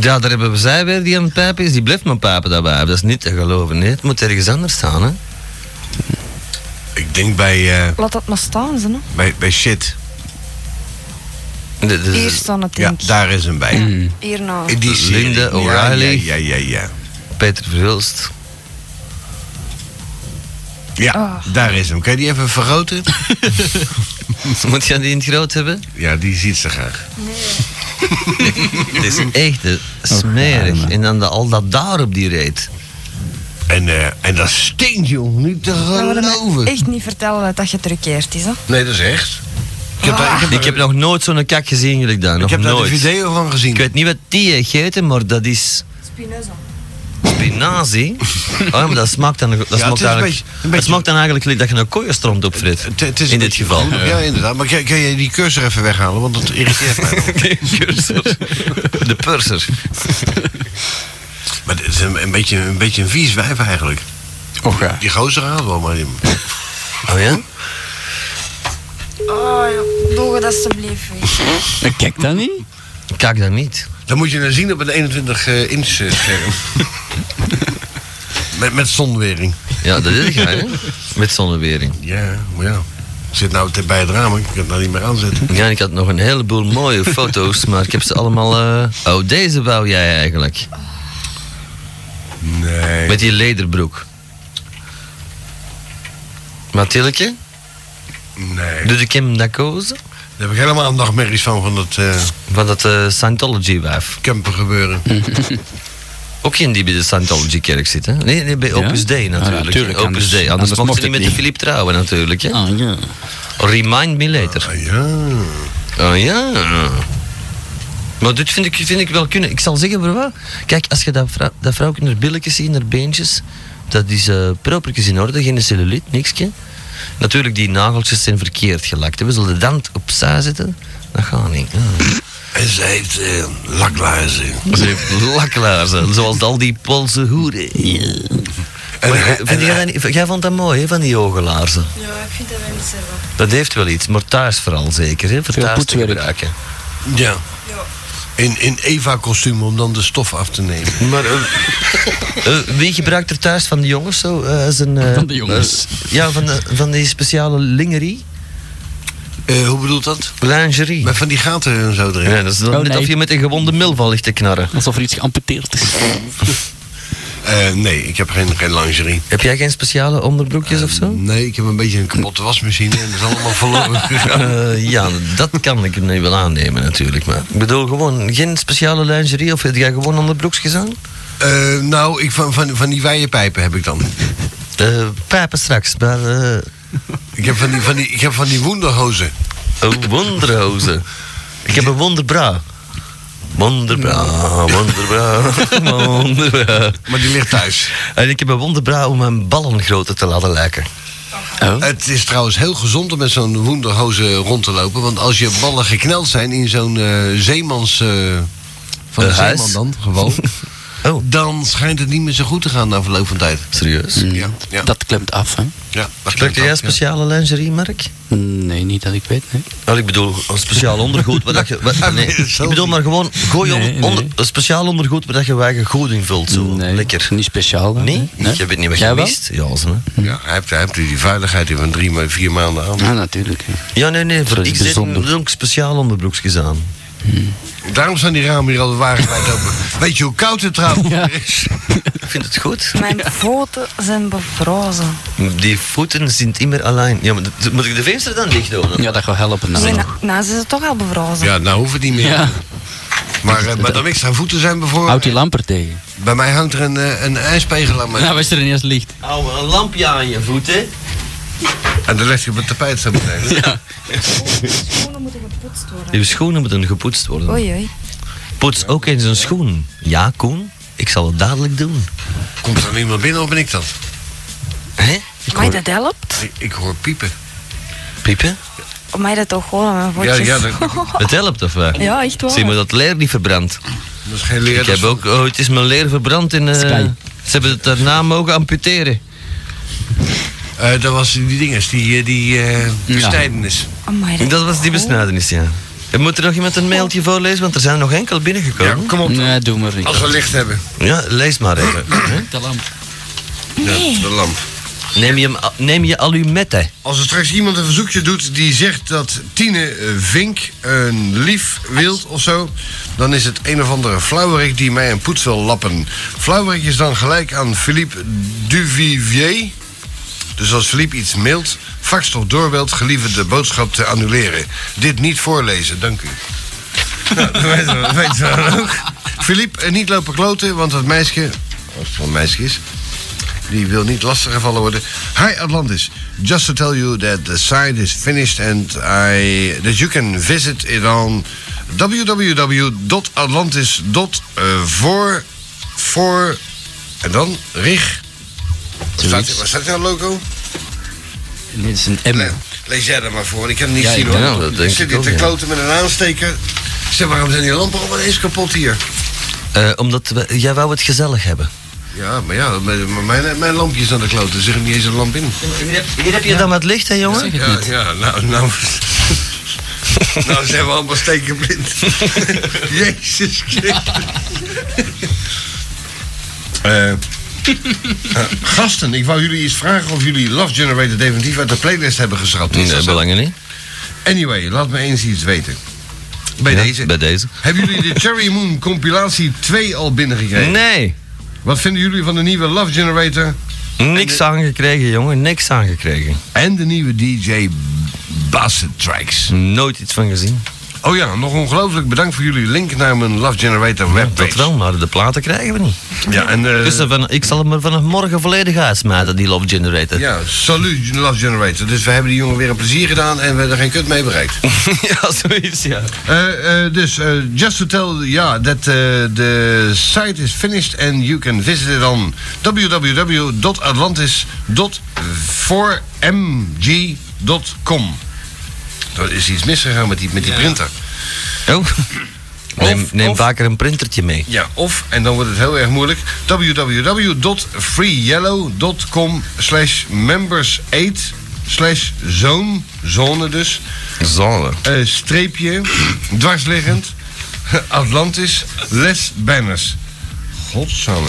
S7: Ja, daar hebben we zij weer die aan het pijpen is. Die blijft maar pijpen daarbij. Dat is niet te geloven, nee. Het moet ergens anders staan, hè.
S6: Ik denk bij, eh,
S9: Laat dat maar staan, ze, hè?
S6: bij, bij shit.
S7: Dit is-
S9: Hier staan het,
S6: Ja,
S9: denk ik.
S6: daar is hem bij.
S9: Hierna.
S6: In die serie.
S7: Linda
S6: Ja,
S7: O'Reilly.
S6: Ja, ja, ja. Ja,
S7: Peter Verhulst.
S6: ja
S9: Ah.
S6: daar is hem. Kan je die even vergroten?
S7: Moet je die in het groot hebben?
S6: ja, die ziet ze graag.
S7: Het is echt
S6: Oh,
S7: hè, smerig. en dan de, al dat daar op die reet.
S6: En, eh, en dat stinkt, joh. Niet te
S9: Dat willen we
S6: geloven.
S9: echt niet vertellen dat dat geterkeerd is, hè?
S6: Nee, dat is echt. Ik heb, daar, ik heb,
S7: Ik heb nog nooit zo'n kak gezien jullie daar.
S6: Ah. ik
S7: Nog
S6: heb daar de
S7: nooit.
S6: video van gezien.
S7: Ik weet niet wat die heeft gegeten, maar dat is
S9: Spinoza.
S7: spinazie. Oh ja, maar dat smaakt dan, dat
S6: het
S7: smaakt
S6: is een
S7: eigenlijk,
S6: beetje- een beetje-
S7: dat smaakt dan eigenlijk gelijk dat je een kooienstront opfrit.
S6: Het- het is
S7: In
S6: een
S7: dit
S6: beetje
S7: geval.
S6: groen. Ja, inderdaad. Maar kan, kan je die cursor even weghalen? Want dat irriteert mij. wel.
S7: Cursor. De purser.
S6: maar het is een, een, beetje, een beetje een vies wijf eigenlijk.
S8: Och ja.
S6: Die gozer haalt wel, maar die...
S7: Oh ja?
S9: Oh, ja. Doe dat alsjeblieft weg.
S8: Maar Kijk dan niet.
S7: Kijk dan niet.
S6: Dan moet je dan zien op een 21-inch eh, scherm. met, met zonwering.
S7: Ja, dat is hij, hè? Met zonnewering.
S6: Ja, maar ja. Ik zit nou te- bij het raam, ik kan het nou niet meer aanzetten.
S7: Ja, ik had nog een heleboel mooie foto's, maar ik heb ze allemaal... eh, Oh, deze wou jij eigenlijk.
S6: Nee.
S7: Met die lederbroek. Mathilde,
S6: Nee.
S7: doe ik hem dat kozen?
S6: Daar heb ik helemaal nachtmerries van, van dat eh
S7: Van dat eh, Scientology-wijf.
S6: camper gebeuren.
S7: Ook geen die bij de Scientology-kerk zit, hè? Nee, nee bij Opus
S8: Ja?
S7: Dei natuurlijk.
S8: Ah, natuurlijk,
S7: Opus
S8: anders-
S7: Dei. Anders,
S8: anders
S7: mocht
S8: mocht
S7: ze niet met
S8: het
S7: de Filip
S8: niet.
S7: trouwen, natuurlijk. Hè?
S8: Ah, ja.
S7: Remind me later.
S6: Ah, ja.
S8: Ah,
S7: Oh ja. Maar dit vind ik, vind ik wel kunnen. Ik zal zeggen, voor wat? Kijk, als je dat, vrou dat vrouwtje naar billetjes ziet, naar beentjes, dat is eh propertjes in orde, geen celluliet, niksje. Natuurlijk, die nageltjes zijn verkeerd gelakt. hè. We zullen de dand opzij zetten. Dat gaat niet.
S8: Ah.
S7: Ja.
S6: En ze heeft eh, laklaarzen.
S7: Ze heeft laklaarzen, zoals al die Poolse hoeren.
S6: En,
S7: Maar
S6: hij-
S7: vind
S6: en
S7: jij,
S6: hij-
S7: dat niet- jij vond dat mooi, hè, van die oogelaarzen.
S10: Ja, ik vind dat wel niet zo wel.
S7: Dat heeft wel iets, maar thuis vooral zeker. Hè, voor
S8: Veel
S7: thuis te
S8: poetswerk.
S7: gebruiken.
S6: ja.
S10: Ja.
S6: In, in Eva-kostuum om dan de stof af te nemen.
S7: Maar eh, eh, wie gebruikt er thuis van de jongens zo? eh, zijn, eh,
S8: Van de jongens.
S7: eh, ja, van, de- van die speciale lingerie.
S6: Eh, hoe bedoelt dat?
S7: Lingerie.
S6: Met van die gaten en zo erin.
S7: Ja, dat is dan
S8: Oh,
S7: net
S8: nee.
S7: of je met een gewonde milval ligt te knarren.
S8: Alsof er iets geamputeerd is.
S6: Eh, nee, ik heb geen, geen lingerie.
S7: Heb jij geen speciale onderbroekjes of zo?
S6: Nee, ik heb een beetje een kapotte wasmachine en dat is allemaal verloren gegaan.
S7: Eh, ja, dat kan ik nu wel aannemen natuurlijk. Maar ik bedoel gewoon, geen speciale lingerie of heb jij gewoon onderbroekjes aan?
S6: Eh, nou, ik, van, van, van die wijde pijpen heb ik dan.
S7: Eh pijpen straks, maar eh
S6: Ik heb van die, van die, ik heb van die wonderhozen.
S7: oh, wonderhozen. Ik heb een wonderbra. Wonderbra, wonderbra, wonderbra.
S6: Maar die ligt thuis.
S7: En ik heb een wonderbra om mijn ballen groter te laten lijken. Oh.
S6: Het is trouwens heel gezond om met zo'n wonderhozen rond te lopen. Want als je ballen gekneld zijn in zo'n eh, zeemans... eh, van
S7: Eh,
S6: de
S7: huis?
S6: zeeman dan, gewoon.
S7: Oh,
S6: dan schijnt het niet meer zo goed te gaan na verloop van tijd.
S7: serieus?
S6: Ja, ja.
S8: Dat klemt af, hè?
S6: Ja, dat
S7: Gebruikte jij speciale lingerie, Mark?
S8: Nee, niet dat ik weet, nee.
S7: Wel, ik bedoel, een speciaal ondergoed. Waar dat je, wat-
S6: Ah,
S7: nee,
S6: nee, dat
S7: ik
S6: zal
S7: bedoel
S6: niet.
S7: maar gewoon gooi
S8: Nee,
S7: onder,
S8: nee.
S7: onder- een speciaal ondergoed waar dat je je eigen goed in vult. Zo.
S8: nee.
S7: Lekker.
S8: Niet speciaal dan?
S7: Nee? Je weet niet wat je
S8: Jij wel?
S7: mist. Ja, zo, hè.
S6: Ja, hij heeft, hij heeft die veiligheid in van drie, maar vier maanden aan.
S8: Ja, natuurlijk. hè.
S7: ja nee, nee. Voor,
S8: Dat is
S7: ik zet
S8: bijzonder.
S7: ook speciaal onderbroekjes aan.
S6: Daarom staan die ramen hier al wagenwijd open. Weet je hoe koud het trouwens
S8: Ja.
S6: is?
S7: Ik vind het goed.
S9: Mijn voeten zijn bevrozen.
S7: Die voeten zijn immer alleen. Ja, maar dat- moet ik de venster dan dicht doen?
S8: Ja, dat gaat helpen. Nou.
S9: Nee, nou, nou zijn ze toch al bevrozen.
S6: Ja, nou hoeft het niet meer.
S8: Ja.
S6: Maar, eh, maar dan ik zijn voeten zijn
S8: Houd
S6: bijvoorbeeld.
S8: die lamper tegen.
S6: Bij mij hangt er een, eh, een ijspegel aan me.
S8: Nou, was er ineens licht.
S7: Hou een lampje aan je voeten.
S6: En dan leg je op het tapijt zo meteen.
S10: Schoenen moeten gepoetst worden.
S7: Je schoenen moeten gepoetst worden.
S9: Oei, oei.
S7: Poets ook eens een schoen. Ja, Koen. Ik zal het dadelijk doen.
S6: Komt er iemand binnen of ben ik dat?
S7: Hé?
S9: Maar dat helpt.
S6: Ik, ik hoor piepen.
S7: Piepen?
S9: Maar dat toch gewoon aan mijn
S6: Ja,
S9: voetjes.
S6: ja, dat,
S8: Oh.
S7: Het helpt of wat?
S9: Oh. Ja, echt waar.
S7: Zie maar dat leer niet verbrand.
S6: dat is geen
S7: Ik
S6: leer.
S7: heb ook, oh, het is mijn leer verbrand in. eh,
S8: Sky.
S7: Ze hebben het daarna mogen amputeren.
S6: Eh, dat was die dinges, die, eh, die eh besnijdenis.
S9: Amai, dat-
S7: Dat was die besnijdenis, ja. En moet er nog iemand een mailtje voorlezen? Want er zijn er nog enkel
S6: Ja,
S7: binnengekomen.
S6: kom op.
S8: Nee, doe maar niet.
S6: Als we licht hebben.
S7: Ja, lees maar even. hè.
S8: De lamp.
S6: Ja, de lamp.
S7: neem, je, hem a- neem je alumetten.
S6: Als er straks iemand een verzoekje doet die zegt dat Tine eh, Vink een lief wilt of zo, dan is het een of andere flauwerik die mij een poets wil lappen. Flauwerik is dan gelijk aan Philippe Duvivier. Dus als Philippe iets mailt, faxt of doorbeeld, gelieve de boodschap te annuleren. Dit niet voorlezen, dank u. nou, dat weten we, dat weten we dan ook. Philippe, eh, niet lopen kloten, want dat meisje, als het wel een meisje is, die wil niet lastiggevallen worden. Hi Atlantis, just to tell you that the site is finished and I that you can visit it on www.atlantis.voor eh, voor en dan rig. Staat, waar staat jouw logo?
S8: Dit is een M.
S6: Le- eh, Lees jij dat maar voor, ik kan het niet
S8: Ja,
S6: zien
S8: ik
S6: hoor.
S7: denk dat, dat denk
S6: ik zit
S7: ik
S6: hier
S7: ook,
S6: te
S7: ja.
S6: kloten met een aansteker. Zeg, waarom zijn die lampen allemaal eens kapot hier?
S7: Eh, omdat we, jij wou het gezellig hebben.
S6: Ja, maar ja, mijn, mijn, mijn lampje is aan de kloten. Er zit niet eens een lamp in.
S7: Hier heb je dan wat licht, hè, jongen?
S6: Ja, ja, nou, nou. nou zijn we allemaal stekenblind. Jezus Christus. Eh, eh, gasten, ik wou jullie eens vragen of jullie Love Generator definitief uit de playlist hebben geschrapt. Is dat
S7: Nee,
S6: zo?
S7: belangen niet.
S6: Anyway, laat me eens iets weten. Bij
S7: Ja,
S6: deze.
S7: Bij deze.
S6: Hebben jullie de Cherry Moon compilatie 2 al binnengekregen?
S7: Nee.
S6: Wat vinden jullie van de nieuwe Love Generator?
S7: Niks aangekregen, jongen, niks aangekregen.
S6: En de nieuwe DJ Bassett Tracks.
S7: Nooit iets van gezien.
S6: Oh ja, nog ongelooflijk bedankt voor jullie link naar mijn Love Generator webpage.
S7: Dat wel, maar de platen krijgen we niet.
S6: Ja, en eh,
S7: Dus dan van, ik zal hem er vanaf morgen volledig uitsmijten, die Love Generator.
S6: ja, salut Love Generator. Dus we hebben die jongen weer een plezier gedaan en we hebben er geen kut mee bereikt.
S7: ja zoiets, ja.
S6: Eh, eh, dus, eh, just to tell you yeah, that eh, the site is finished and you can visit it on www.atlantis.4mg.com. Er is iets misgegaan met die, met die printer.
S7: Oh. Neem, neem
S6: of-
S7: vaker een printertje mee.
S6: Ja, of, en dan wordt het heel erg moeilijk, www.freeyellow.com slash members8 slash zone, zone dus,
S7: Zonne.
S6: eh, streepje, dwarsliggend, Atlantis, Les Banners. Godsamme.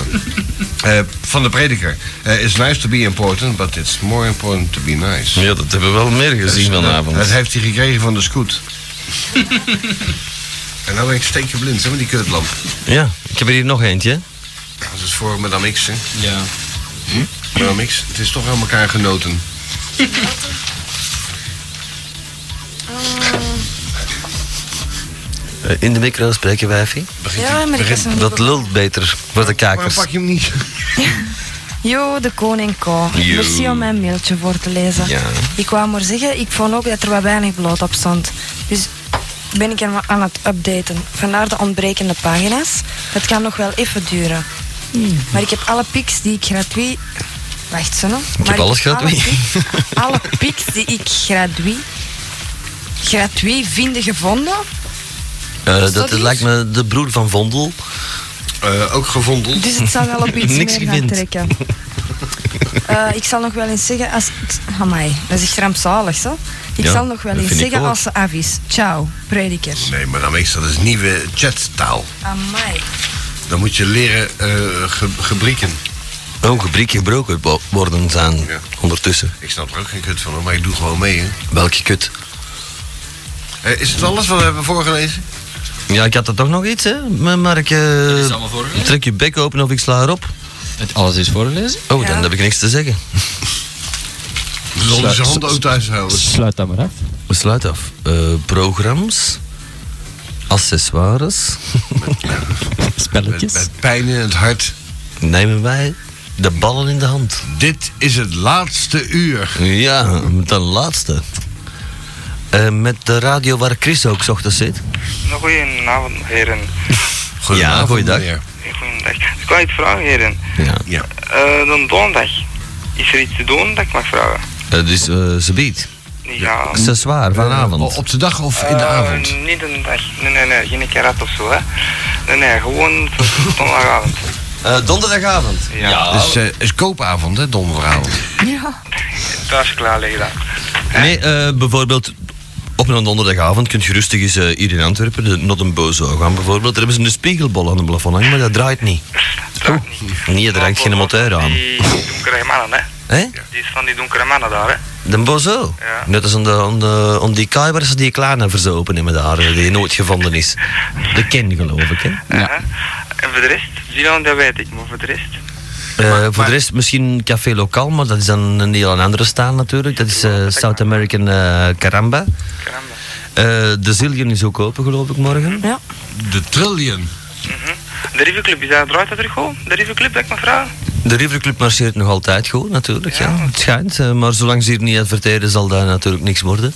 S6: Eh, van de prediker. Eh, it's nice to be important, but it's more important to be nice. Eh,
S7: Ja, dat hebben we wel meer gezien
S6: Dat
S7: vanavond.
S6: heeft hij gekregen van de scoot. en nou ben ik steekje blind, zeg maar die kutlamp.
S7: Ja, ik heb er hier nog eentje.
S6: Dat is voor Madame X, hè.
S8: Ja.
S6: Madame X, het is toch aan elkaar genoten.
S7: Eh, In de micro spreken wijfie.
S9: Ja, maar ik was een...
S7: Dat lult beter voor de
S6: Maar
S7: kakers.
S6: pak je hem niet?
S9: Jo, de koning Ko.
S7: Jo.
S9: Merci om mijn mailtje voor te lezen.
S7: Ja.
S9: Ik wou maar zeggen, ik vond ook dat er wat weinig bloot op stond. Dus ben ik hem aan het updaten. Vandaar de ontbrekende pagina's. Dat kan nog wel even duren.
S7: Hmm.
S9: Maar ik heb alle pics die ik gratuit... Wacht, zo nog. Maar Ik
S7: alles
S9: heb alle
S7: gratuit.
S9: pics- Alle pics die ik gratuit... Gratuit vinden gevonden.
S7: Eh,
S9: Is dat
S7: dat
S9: iets?
S7: lijkt me de broer van Vondel.
S6: Eh, ook gevonden.
S9: Dus het zal wel op iets
S7: Niks
S9: meer gaan
S7: gevind.
S9: trekken. Eh, ik zal nog wel eens zeggen als... ik- Amai, dat is echt rampzalig, zo. Ik
S7: Ja,
S9: zal nog wel
S7: dat
S9: eens
S7: vind ik
S9: zeggen
S7: ook.
S9: als ze af is. Ciao, prediker.
S6: Nee, Madame X, dat is nieuwe chattaal.
S9: Amai.
S6: Dan moet je leren eh, ge- gebrieken.
S7: Een gebrek gebroken wo- worden zijn
S6: Ja.
S7: ondertussen.
S6: Ik snap er ook geen kut van, hoor, maar ik doe gewoon mee. Hè.
S7: Welke kut.
S6: Eh, is het alles wat we hebben voorgelezen?
S7: Ja, ik had er toch nog iets, hè? Maar Mark, eh,
S8: is allemaal voorgelezen.
S7: trek je bek open of ik sla erop.
S8: Het alles is voorgelezen?
S7: Oh,
S9: Ja.
S7: dan heb ik niks te zeggen.
S6: We zullen
S8: Sluit-
S6: zijn handen ook thuis houden.
S8: Sluit dat maar af.
S7: We sluiten af. Eh, programma's. Accessoires.
S6: Met,
S8: Spelletjes.
S6: met pijn in het hart.
S7: Nemen wij de ballen in de hand.
S6: Dit is het laatste uur.
S7: Ja, de laatste. Eh, met de radio waar Chris ook 's ochtends zit.
S2: Goedenavond, heren.
S7: Ja, goeiedag.
S6: meneer.
S2: Goedendag. Ik wou iets vragen, heren.
S7: Ja.
S6: Ja.
S2: Eh dan donderdag. Is er iets te doen dat ik mag vragen?
S7: Het is eh, ze biedt.
S2: Ja.
S7: Accessoire vanavond.
S6: Eh, op de dag of in de
S2: Eh,
S6: avond?
S2: niet een dag. Nee, nee, nee. Geen karat of zo, hè. Nee, nee. Gewoon tot donderdagavond.
S7: Eh, donderdagavond.
S2: Ja.
S6: Dus eh, is koopavond, hè, donderdagavond.
S2: Thuis klaar liggen dan.
S7: Nee, eh, bijvoorbeeld op een donderdagavond kunt je rustig eens eh, hier in Antwerpen, de Nottenbozo gaan bijvoorbeeld. Daar hebben ze een spiegelbol aan de plafond hangen, maar dat draait niet.
S2: Draait niet.
S7: Nee, er hangt geen motor aan.
S2: Die donkere mannen, hè.
S7: Hé?
S2: Die is van die donkere mannen daar, hè.
S7: De bozo?
S2: Ja.
S7: Net als aan, de, aan, de, aan die kaai waar ze die kleine verzopen hebben daar, eh, die nooit gevonden is. De ken, geloof ik, hè?
S8: Ja.
S2: Hè? En voor de rest? Zilan, dat weet ik, maar voor de rest?
S7: Eh, voor de rest misschien Café Lokaal, maar dat is dan een heel andere staal natuurlijk. Dat is eh, South American eh,
S2: Caramba.
S7: Caramba. Eh, de Zillion is ook open, geloof ik, morgen.
S9: Ja.
S6: De trillion.
S2: De Riverclub, is daar draait dat terug gewoon? De Riverclub, dat ik mag vragen?
S7: De Riverclub marcheert nog altijd goed, natuurlijk. Ja. Het schijnt, eh, maar zolang ze hier niet adverteren, zal daar natuurlijk niks worden.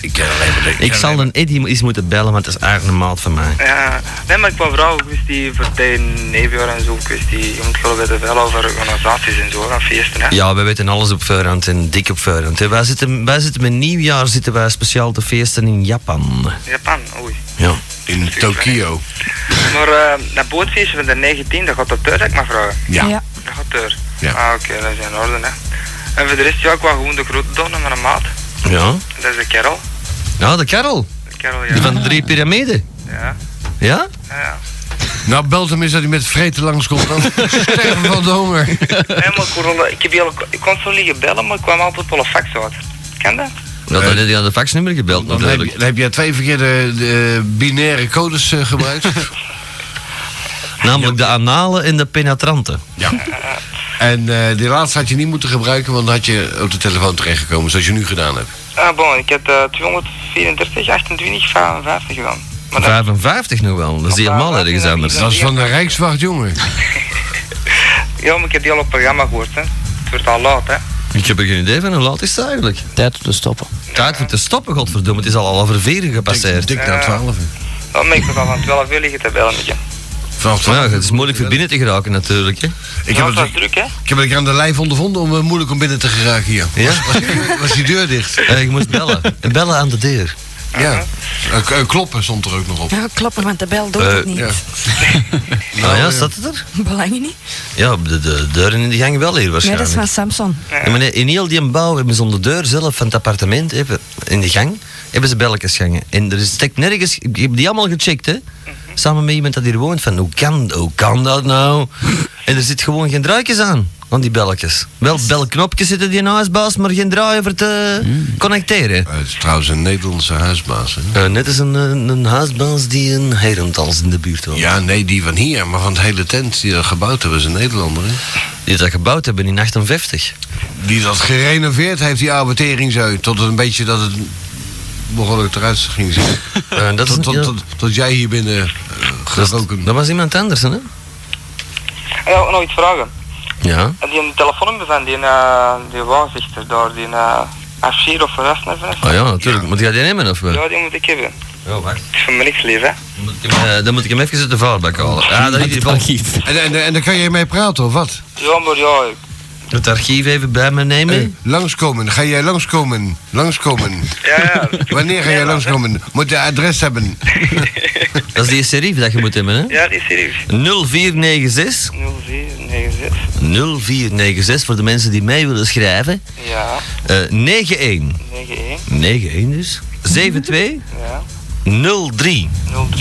S6: Ik ken alleen maar de...
S7: Ik zal een Eddie eens moeten bellen, want het is eigenlijk een maat van mij.
S2: Ja, nee, maar ik wou vragen, kwestie voor tegen neefjaar en zo, kwestie, je moet gewoon weten veel over organisaties en zo, aan feesten, hè?
S7: Ja, wij weten alles op voorhand en dik op voorhand. hè. Wij zitten, wij zitten met nieuwjaar zitten wij speciaal te feesten in Japan.
S2: Japan, oei.
S7: Ja.
S6: In Tokio.
S2: Maar eh, dat bootfeestje van de 19, dat gaat dat deur, dat ik mag vragen?
S6: Ja.
S9: Ja.
S2: Dat gaat deur?
S6: Ja.
S2: Ah, oké, dat is in orde, hè. En voor de rest, ja, ik wou gewoon de grote doen en mijn maat.
S7: Ja?
S2: Dat is de kerel.
S7: Nou, de Karel.
S2: De kerel, ja.
S7: Die van de drie piramiden.
S2: Ja,
S7: Ja?
S2: ja, ja.
S6: Nou, belt hem eens dat hij met vreten langskomt. Dan sterven van de honger.
S2: Nee, maar ik, hoor al- ik, heb heel, ik kon zo liggen bellen, maar ik kwam altijd wel een fax uit. Ken dat?
S7: Ja, dan had hij aan de faxnummer gebeld
S6: Dan heb, je-
S7: natuurlijk.
S6: dan heb jij twee verkeerde eh, binaire codes eh, gebruikt.
S7: Namelijk de anale en de penetrante.
S6: Ja. En eh, die laatste had je niet moeten gebruiken, want dan had je op de telefoon terechtgekomen, zoals je nu gedaan hebt.
S2: Ah, bon, ik heb eh, 234, 28, 55 gedaan. Maar dat,
S7: 55 nog wel, dat is helemaal ergens anders.
S6: Dat is van de Rijkswacht, jongen.
S2: ja, maar ik heb die al op het programma gehoord, hè. Het wordt al laat, hè.
S7: Ik heb er geen idee van hoe laat is het eigenlijk.
S8: Tijd om te stoppen.
S7: Tijd voor te stoppen, godverdomme. Het is al half vier gepasseerd.
S6: Dik na 12. uur.
S2: Dan ben ik tot al van 12 uur liggen te bellen met je.
S6: Vanaf
S7: Maar
S6: 12
S7: ja,
S6: uur
S7: het is moeilijk voor
S6: moet je
S7: binnen te geraken natuurlijk. Hè.
S6: bellen. Ik
S2: Ja, het
S6: heb,
S2: was
S6: het,
S2: druk, hè.
S6: ik heb het aan de lijf ondervonden om eh, moeilijk om binnen te geraken hier.
S7: Ja?
S6: Was, was- was die deur dicht?
S7: Eh, je moest bellen. En bellen aan de deur.
S6: Ja. Eh, k- eh, kloppen stond er ook nog op.
S9: Ja, kloppen, want de bel doet
S7: Eh,
S9: het niet.
S6: ja.
S7: Nou ja, staat het er?
S9: Belang je niet?
S7: Ja, op de, de deuren in de gang wel hier
S9: Nee, dat
S7: waarschijnlijk.
S9: is van Samson.
S7: Ja, maar nee, in heel die bouw hebben ze onder de deur zelf van het appartement, even in de gang, hebben ze belletjesgangen. En er is- steekt nergens, ik heb die allemaal gecheckt hè, samen met iemand dat hier woont, van hoe kan, hoe kan dat nou? En er zit gewoon geen draadjes aan, aan die belletjes. Wel belknopjes zitten die in huisbaas, maar geen draaien voor te connecteren.
S6: Eh, het is trouwens een Nederlandse huisbaas. Hè?
S7: Eh, net als een, een, een huisbaas die een herentals in de buurt woont.
S6: Ja, nee, die van hier, maar van het hele tent die dat gebouwd hebben, is een Nederlander. Hè?
S7: Die dat gebouwd hebben in 58.
S6: Die dat gerenoveerd heeft, die oude teringzuit, tot het een beetje dat het behoorlijk eruit ging zien.
S7: Eh, dat, is,
S6: Tot, tot,
S7: ja,
S6: tot- tot jij hier binnen eh,
S7: dat, is-
S6: geroken.
S7: dat was iemand anders hè?
S2: En ja, nog iets vragen.
S7: Ja.
S2: En die telefoonnummer van die, eh die waarzegter daar, die eh Afshir of Rasneven.
S7: Oh ja, natuurlijk. Moet jij die nemen of wel?
S2: Ja, die moet ik hebben.
S7: Ja, wacht.
S2: Ik vind me niks lief, hè.
S7: Moet ik hem, eh, dan moet ik hem even uit de vuilbak halen. Ja, dat in ieder geval.
S8: archief.
S6: En, en, en daar kan je mee praten of wat?
S2: Ja, maar ja, ik-
S7: Het archief even bij me
S6: Eh,
S7: nemen.
S6: langskomen, ga jij langskomen? Langskomen.
S2: ja, ja.
S6: Wanneer ga jij langskomen? Moet je adres hebben.
S7: Dat is die serif dat je moet hebben, hè?
S2: Ja, die is serieus.
S7: 0496.
S2: 0496.
S7: 0496 voor de mensen die mee willen schrijven.
S2: Ja,
S7: Eh 91.
S2: 91.
S7: 91 dus. 72.
S2: Ja,
S7: 03.
S2: 03.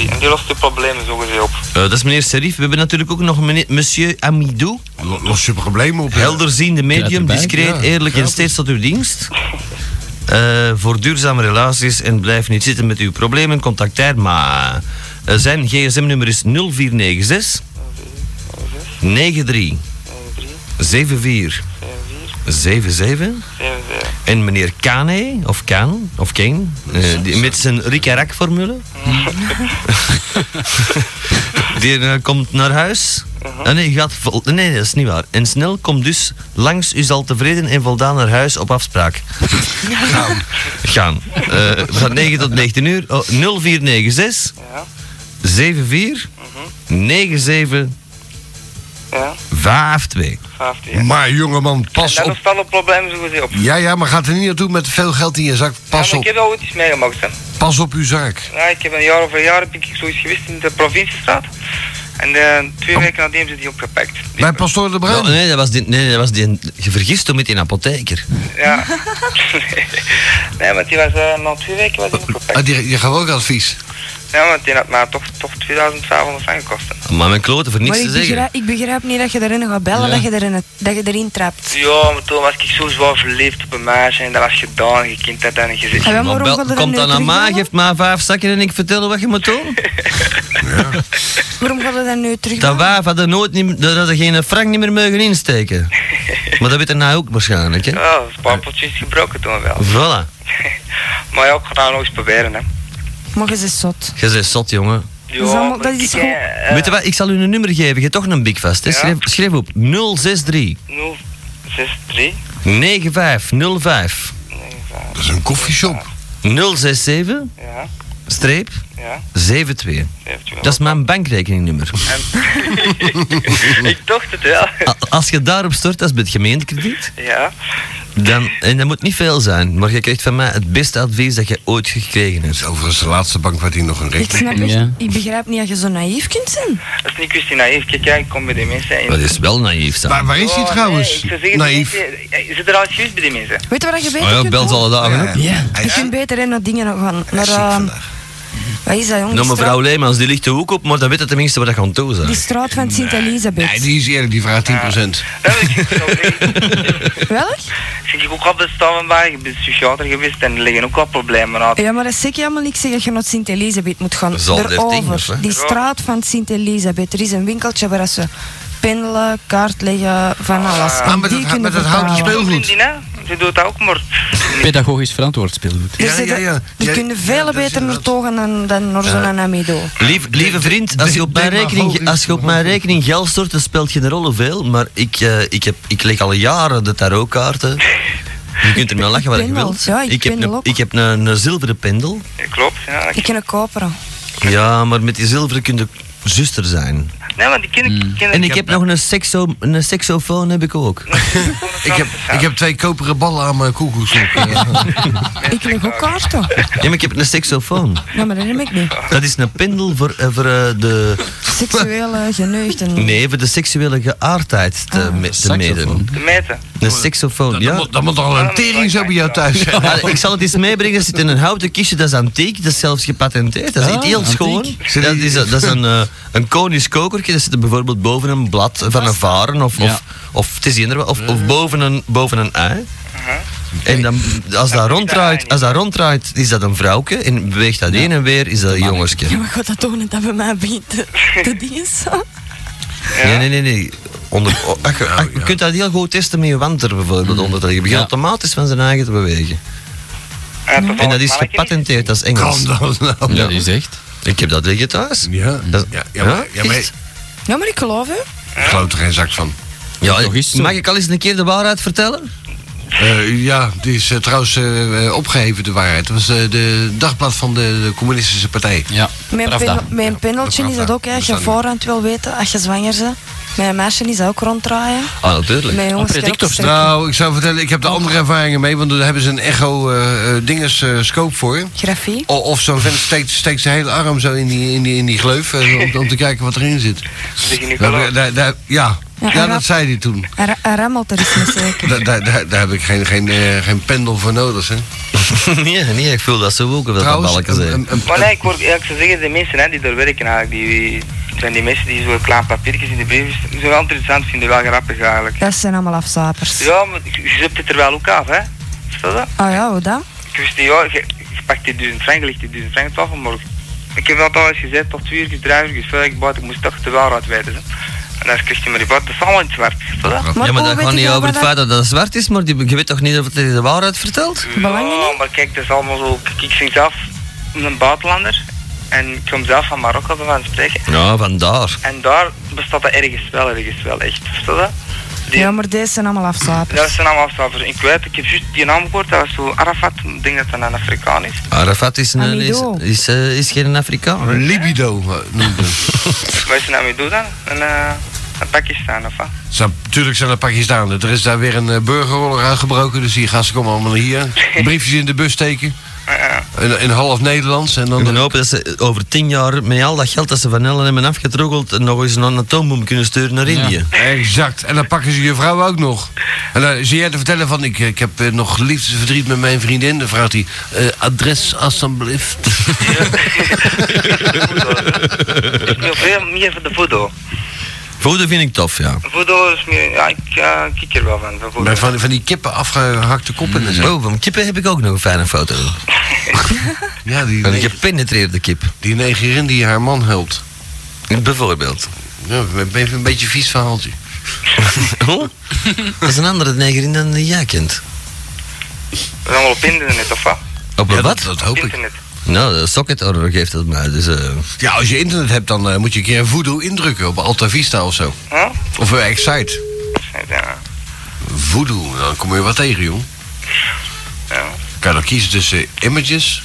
S2: En die lost de problemen zogezegd op.
S7: Eh, dat is meneer Serif. We hebben natuurlijk ook nog meneer, monsieur Amidou.
S6: Lo- Los je problemen op. hè?
S7: Helderziende medium,
S8: erbij.
S7: discreet,
S6: Ja,
S7: eerlijk en
S6: gratis.
S7: steeds tot uw dienst. Eh, voor duurzame relaties en blijf niet zitten met uw problemen, contacteer maar. Eh, zijn gsm-nummer is 0496 93
S2: 93,
S7: 74
S2: 74,
S7: 77.
S2: 77.
S7: En meneer Kane, of Kaan, of Kane, eh, die- met zijn Rick en Rack formule. die eh, komt naar huis.
S2: Uh-huh.
S7: Ah, nee, gaat vol- nee, dat is niet waar. En snel komt dus langs, u zal tevreden en voldaan naar huis op afspraak. Gaan. Gaan. Eh, van 9 tot 19 uur. Oh, 0496
S2: Ja, Uh-huh.
S7: 74 97
S2: ja,
S7: 52.
S2: 15.
S6: Maar jongeman, pas
S2: Dat
S6: op.
S2: lost alle problemen zogezegd op.
S6: Ja, ja, maar gaat er niet naartoe met veel geld in je zak. Pas
S2: ja, maar ik heb
S6: op,
S2: al iets meegemaakt, hè.
S6: pas op uw zaak.
S2: Ja, ik heb een jaar of een jaar heb ik zoiets geweest in de provinciestraat. En eh, twee weken nadien hebben ze die opgepakt. Die-
S6: Oh. Bij Pastoor de
S7: Nou,
S6: Bruin.
S7: nee, dat was die, nee, dat was die, je vergist toen met die apotheker.
S2: Ja. nee, want die was eh, na twee weken was die
S6: Ah,
S2: opgepakt.
S6: die, je gaf ook advies.
S2: Ja, want die had maar toch, toch 2500 frank gekost. hè.
S7: Maar mijn kloten voor niets
S9: Maar ik
S7: te zeggen.
S9: begrijp, ik begrijp niet dat je erin gaat bellen, dat, je erin, dat je erin trapt.
S2: Ja, maar toen was ik zo zwaar verliefd op een meisje en dat was gedaan. Je kind had dat niet gezien.
S9: En waarom
S7: Maar
S9: gaat
S7: bel-
S9: er dan
S7: komt
S9: nu
S7: dan naar mij,
S9: terugbellen?
S7: geeft mij vijf zakken en ik vertel wat je moet doen.
S9: Waarom gaat er dan nu terug?
S7: Dat wijf hadden nooit niet, dat hadden geen frank niet meer mogen insteken. Maar dat weet hij nou ook waarschijnlijk, hè?
S2: Ja, een paar potjes gebroken toen wel.
S7: Voilà.
S2: Maar ja, ik ga dat nog eens proberen, hè.
S9: Mogen ze zot.
S7: Je bent zot, jongen.
S2: Ja,
S9: Dat is allemaal-
S2: maar
S9: dat
S2: kijk,
S9: is goed.
S2: hè, eh,
S7: Weet je wat, ik zal u een nummer geven. Je hebt toch een big vast, hè?
S2: Ja.
S7: Schrijf, schrijf op 063
S2: 063
S7: 9505
S6: Dat is een koffieshop.
S7: 067
S2: Ja,
S7: streep
S2: ja,
S7: 72.
S2: 17.
S7: Dat is mijn bankrekeningnummer.
S2: ik dacht het wel.
S7: A- Als je daarop stort, dat is bij het gemeentekrediet.
S2: Ja,
S7: Dan, en dat moet niet veel zijn, maar je krijgt van mij het beste advies dat je ooit gekregen hebt.
S6: Dat is overigens de laatste bank waar hij nog een
S9: Ik
S6: rekening
S9: snap echt,
S8: Ja.
S9: ik begrijp niet dat je zo naïef kunt zijn.
S2: dat is niet kwestie naïef. Kijk, ja, ik kom bij die mensen.
S7: Dat
S2: En...
S7: is wel naïef, Sam.
S6: Waar, waar is hij
S2: Oh,
S6: trouwens?
S2: Nee, ik zou zeggen,
S6: Naïef.
S2: die mensen- eh, Zit er al geweest bij die mensen?
S9: Weet je wat je beter
S7: Oh ja,
S9: kunt
S7: belt
S9: doen?
S7: alle dagen op.
S8: Ja.
S9: Je kunt beter in naar dingen gaan. Naar,
S6: Hij is ziek
S9: ehm,
S6: vandaag.
S9: Wat is dat, jongen?
S7: Nou,
S9: Die
S7: mevrouw
S9: straat-
S7: Leemans, die ligt de hoek op, maar dan weet het tenminste waar dat kan toe zijn.
S9: Die straat van Sint-Elisabeth.
S6: Nee, die is eerlijk, die vraagt 10%.
S9: Welk?
S2: Zit ik ook op de Stavenberg, ik ben psychiater geweest en er liggen ook al problemen uit.
S9: Ja, maar dat zeg je allemaal niks. Zeg dat je naar Sint-Elisabeth moet gaan.
S7: Zal dertien of
S9: Erover.
S7: zo.
S9: Die straat van Sint-Elisabeth. Er is een winkeltje waar ze pendelen, kaart leggen, van alles.
S6: Ah,
S9: En
S6: met
S9: die
S6: dat-
S9: kunnen
S6: met dat houten
S9: vertalen.
S6: Heel goed.
S2: Die, hè? Ze doet dat ook, maar...
S8: Pedagogisch verantwoord speelgoed.
S9: Dus
S6: Ja,
S9: ze-
S6: ja, ja.
S9: Die
S6: Ja,
S9: kunnen
S6: ja,
S9: veel
S6: dat is
S9: beter naar
S6: inderdaad.
S9: Togen dan, dan naar zo'n Amido.
S7: Lief, lieve vriend, als je op mijn
S6: de- de-
S7: rekening, als je op mijn rekening geld stort, dan speelt geen rol hoeveel. Maar ik, eh, ik, heb, ik leg al jaren de tarotkaarten. Je kunt er nou lachen wat je
S9: pendel,
S7: wilt.
S9: ja, ik
S7: ik heb,
S9: pendel
S7: een,
S9: ook.
S7: ik heb een, een zilveren pendel.
S2: Ja, Klopt, ja.
S9: Die kunnen koperen.
S7: Ja, maar met die zilveren kun je zuster zijn.
S2: Nee, maar die kinderen... kinderen-
S7: En ik heb nog een, sexo, een sexofoon heb ik ook.
S6: Ik heb, ik heb twee koperen ballen aan mijn eh. koekoekslok.
S9: Ik leg ook kaarten.
S7: Ja, maar ik heb een sexofoon.
S9: Ja, maar dat heb ik niet.
S7: Dat is een pendel voor, eh, voor eh, de...
S9: Seksuele geneugten.
S7: Nee, voor de seksuele geaardheid te, me- te meten.
S2: Te meten.
S7: Een sexofoon,
S6: Dat
S7: ja.
S6: moet- Dat moet al een tering zo bij jou thuis zijn.
S7: Ja, ik zal het eens meebrengen. Er zit in een houten kistje, dat is antiek, dat is zelfs gepatenteerd. Dat is
S8: Ah,
S7: echt heel
S8: antiek.
S7: schoon. Dat is, dat is een, eh, een konisch kokertje, dat zit er bijvoorbeeld boven een blad van een varen of,
S8: Ja.
S7: of, of, het is eender wat, of, of boven een, boven een ei. En dan, als dat ronddraait, als dat ronddraait, is dat een vrouwtje en beweegt dat heen en weer, is dat een jongensje.
S9: Ja, maar god, dat toch niet dat bij mij begint te, te diensten.
S7: Nee, nee, nee, nee. Onder, o- ach, ach, je kunt dat heel goed testen met je wanter bijvoorbeeld onder te leggen. Je begint
S8: Ja.
S7: automatisch van zijn eigen te bewegen.
S2: En,
S7: En dat is gepatenteerd, dat is Engels.
S6: Kan dat nou?
S8: Ja, dat is echt.
S7: Ik heb dat liggen thuis.
S6: Ja,
S7: Dat-
S6: ja, ja, maar, ja, maar
S7: Echt?
S6: ik
S9: Ja, maar ik geloof u.
S6: geloof er geen zak van.
S7: Ja,
S8: Nog eens zo.
S7: mag ik al eens een keer de waarheid vertellen?
S6: Eh, ja, die is eh, trouwens eh, eh, opgeheven, de waarheid. Dat was eh, de dagblad van de, de Communistische Partij.
S8: Ja,
S9: Mijn,
S8: Pravda.
S9: pen, mijn pendeltje
S6: dat
S9: is
S6: vraagt
S9: dat ook,
S7: Dus
S9: hè.
S6: daar.
S9: Als je
S6: Dat staat
S9: voorhand wil weten, als je zwanger bent. Mijn meisje is dat ook ronddraaien.
S7: Ah, natuurlijk.
S9: Mijn jongens kan ook
S8: predictors.
S9: sterk-
S6: Nou, ik zou vertellen, ik heb daar andere ervaringen mee, want daar hebben ze een eh, echo-dinges-scope voor.
S9: Grafie.
S6: O- Of zo'n vent steekt, steekt zijn hele arm zo in die, in die, in die gleuf eh, om, om te kijken wat erin zit. Daar, daar, daar- ja.
S9: Ja,
S6: ja,
S9: en
S6: dat
S9: wat-
S6: zei hij toen.
S9: Hij ra- hij rammelt er is niet zeker.
S6: Daar, daar, daar, daar heb ik geen, geen, eh, geen pendel voor nodig. Hè.
S7: nee, nee, ik voel dat zo ook, of dat dat
S6: Trouwens,
S7: balken
S6: een,
S7: zijn.
S6: een- een-
S2: Maar nee, ik, word, ja, ik zou zeggen, de mensen hè, die daar werken eigenlijk, die, zijn die mensen die zo'n klein papiertjes in de brief zo wel interessant vinden, wel grappig eigenlijk.
S9: Dat zijn allemaal afzapers.
S2: Ja, maar je je zet het er wel ook af, hè. Verstaat dat?
S9: Oh ja, hoe dat?
S2: Ik wist niet, ja, je, je pakt die duizend frank, ligt die duizend frank toch, maar ik- ik heb dat al eens gezegd, tot twee uur, drie uur, vier uur, ik moest toch de waarheid weten. Hè. En dan kreeg je maar die bot, dat is allemaal in het zwart. Verstaat dat?
S7: Ja,
S9: hoe
S7: maar dat gaat
S9: weet ik
S7: niet
S9: nou
S7: over
S9: wat
S7: het feit dat dat zwart is, maar die- je weet toch niet of het de waarheid vertelt?
S9: Belangrijk.
S2: Ja, maar kijk, dat is allemaal zo. Kijk, ik zing zelf een buitenlander en ik kom zelf van Marokko bij van spreken.
S7: Ja, vandaar.
S2: En daar bestaat dat ergens wel, ergens wel, echt. Verstaat dat? Die,
S9: Ja, maar deze zijn allemaal afzapers.
S2: Dat zijn allemaal afstappers. Ik weet, ik heb juist die naam gehoord, dat was zo Arafat, ik denk dat dat een Afrikaan is.
S7: Arafat is, een, is,
S9: Amido.
S7: is, eh, is geen Afrikaan.
S6: libido eh, noemde ze.
S2: Wat is nou mee doen dan? Een, eh een Pakistan of wat?
S6: Zijn- Natuurlijk zijn er Pakistanen. Er is daar weer een eh, burgeroorlog uitgebroken, dus die gasten komen allemaal naar hier. Briefjes in de bus steken. In, in half Nederlands. En
S7: En dan
S6: dan,
S7: hopen dat ze over tien jaar met al dat geld dat ze van Ellen hebben afgetroggeld nog eens een atoombom kunnen sturen naar
S8: Ja.
S7: Indië.
S6: exact. En dan pakken ze je vrouw ook nog. En dan zie jij te vertellen van, ik, ik heb eh, nog liefdesverdriet met mijn vriendin. Dan vraagt hij, eh, adres alsjeblieft.
S2: Ik ben veel meer van de voodoo.
S7: Voeden vind ik tof, ja.
S2: Voodoo is meer, ja, ik eh, kijk er wel van. van voodoo.
S6: Maar Van, van die kippen afgehakte koppen en zo.
S7: Oh, van kippen heb ik ook nog een fijne foto.
S6: Ja, die,
S7: Een
S6: neg-
S7: gepenetreerde kip,
S6: die negerin die haar man helpt.
S7: bijvoorbeeld.
S6: Ja, even een beetje een vies verhaaltje.
S7: Oh? Dat is een andere negerin dan die jij kent.
S2: Dat is allemaal op internet of wat?
S7: Op
S6: Ja,
S7: een
S6: dat,
S7: wat?
S6: dat
S2: Op
S6: hoop ik.
S2: internet.
S7: Nou, de socket order geeft dat mij. Dus, eh,
S6: Ja, als je internet hebt, dan eh, moet je een keer een voodoo indrukken op Alta Vista of zo.
S2: Huh?
S6: Of eh, Excite.
S2: Ja,
S6: Voodoo, dan kom je wat tegen, joh.
S2: ja.
S6: Kan je dan kiezen tussen eh, images,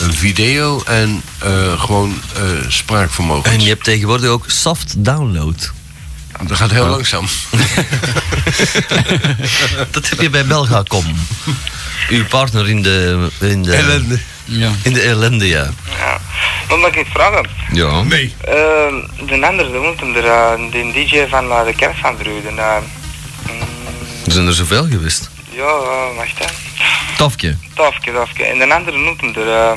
S6: een video en eh, gewoon eh, spraakvermogen.
S7: en je hebt tegenwoordig ook soft download.
S6: Dat gaat heel langzaam.
S7: Dat heb je bij Belga.com. Uw partner in de... In de
S6: Ellende.
S8: Ja.
S7: In de ellende, ja.
S2: ja. Maar mag ik iets vragen?
S7: Ja.
S6: Nee.
S2: Ehm, de andere, de moet hem er, eh, de DJ van eh, de kerk van Druiden. eh, mm,
S7: Er zijn er zoveel geweest.
S2: ja, eh, wacht hè.
S7: Tofje.
S2: Tafke, tafke. En de andere noemt hem er, eh,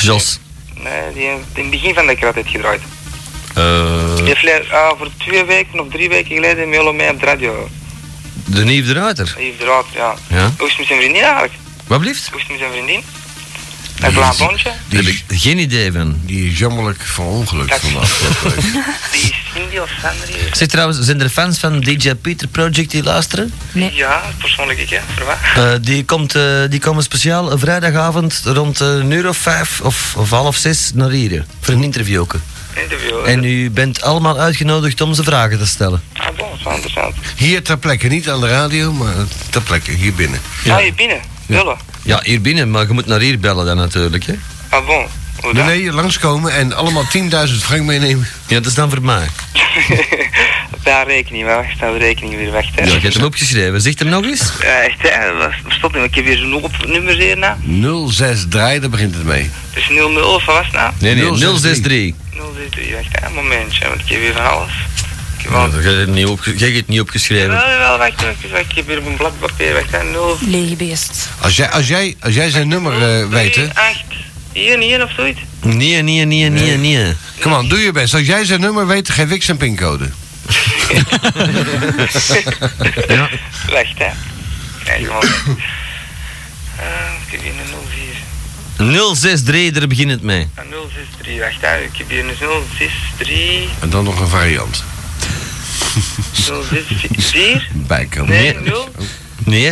S7: Jos.
S6: Nee, die heeft in het begin van de krat heeft gedraaid.
S7: Eh,
S6: Die heeft le- ah, voor twee weken of drie weken geleden Melo mee op de radio.
S7: de Nieuwe de Ruiter.
S6: Hij heeft eruit, ja.
S7: Ja.
S6: Hoe is het met zijn vriendin eigenlijk?
S7: Wat blieft?
S6: Hoe is het met zijn vriendin? Dat blauw blondje?
S7: Daar heb ik geen idee van.
S5: Die is jammerlijk van ongeluk van de afgelopen week.
S6: Die is Cindy of Sandri?
S7: Zeg trouwens, zijn er fans van DJ Peter Project die luisteren?
S6: Ja, persoonlijk ik, hè. Voor wat?
S7: Eh, die, komt, eh, die komen speciaal een vrijdagavond rond eh, een uur of vijf of, of half zes naar hier. Voor een interview ook.
S6: Interview.
S7: En u bent allemaal uitgenodigd om ze vragen te stellen.
S6: Ah, bon, dat is wel interessant.
S5: Hier ter plekke, niet aan de radio, maar ter plekke, hier binnen.
S6: Ja. Ah, je binnen? Willen?
S7: Ja, hier binnen, maar je moet naar hier bellen dan natuurlijk. Hè?
S6: Ah, bon.
S5: Nee,
S6: Hoe dan?
S5: nee, langskomen en allemaal 10.000 frank meenemen.
S7: Ja, dat is dan voor mij.
S6: Daar rekening mee, wacht, daar rekening weer weg, hè.
S7: Ja, ik heb hem opgeschreven. Zegt hem nog eens.
S6: Ja, echt, hè. Dat stop niet, want ik heb weer zo'n hoop nummers hier, nou.
S5: 063, daar begint het mee.
S6: Het is 00 of wat was het nou?
S7: Nee, nee,
S5: 063.
S7: 063.
S6: 063, wacht, hè. Een momentje, want ik heb weer van alles. Ik heb al...
S7: Ja, Jij hebt het niet opge- jij hebt het niet opgeschreven.
S6: Wel, wel, wacht, wacht, wacht, ik heb hier op een blad papier, wacht, hè. 0...
S9: Lege beest.
S5: Als jij, als jij, als jij zijn nummer eh, weet, hè?
S6: 8. Hier, hier of zoiets.
S7: Nee, nee, nee, nee, nee.
S5: Kom aan, doe je best. Als jij zijn nummer weet, geef ik zijn pincode.
S7: Ja.
S6: Wacht, hè. Ja, gewoon. Eh, ik heb hier een Ah, 04.
S7: 063, daar begint het mee.
S6: Een 063, wacht hè, ik heb hier een 063,
S5: En dan nog een variant.
S6: 064,
S5: Bijkomen.
S6: nee,
S7: Nee.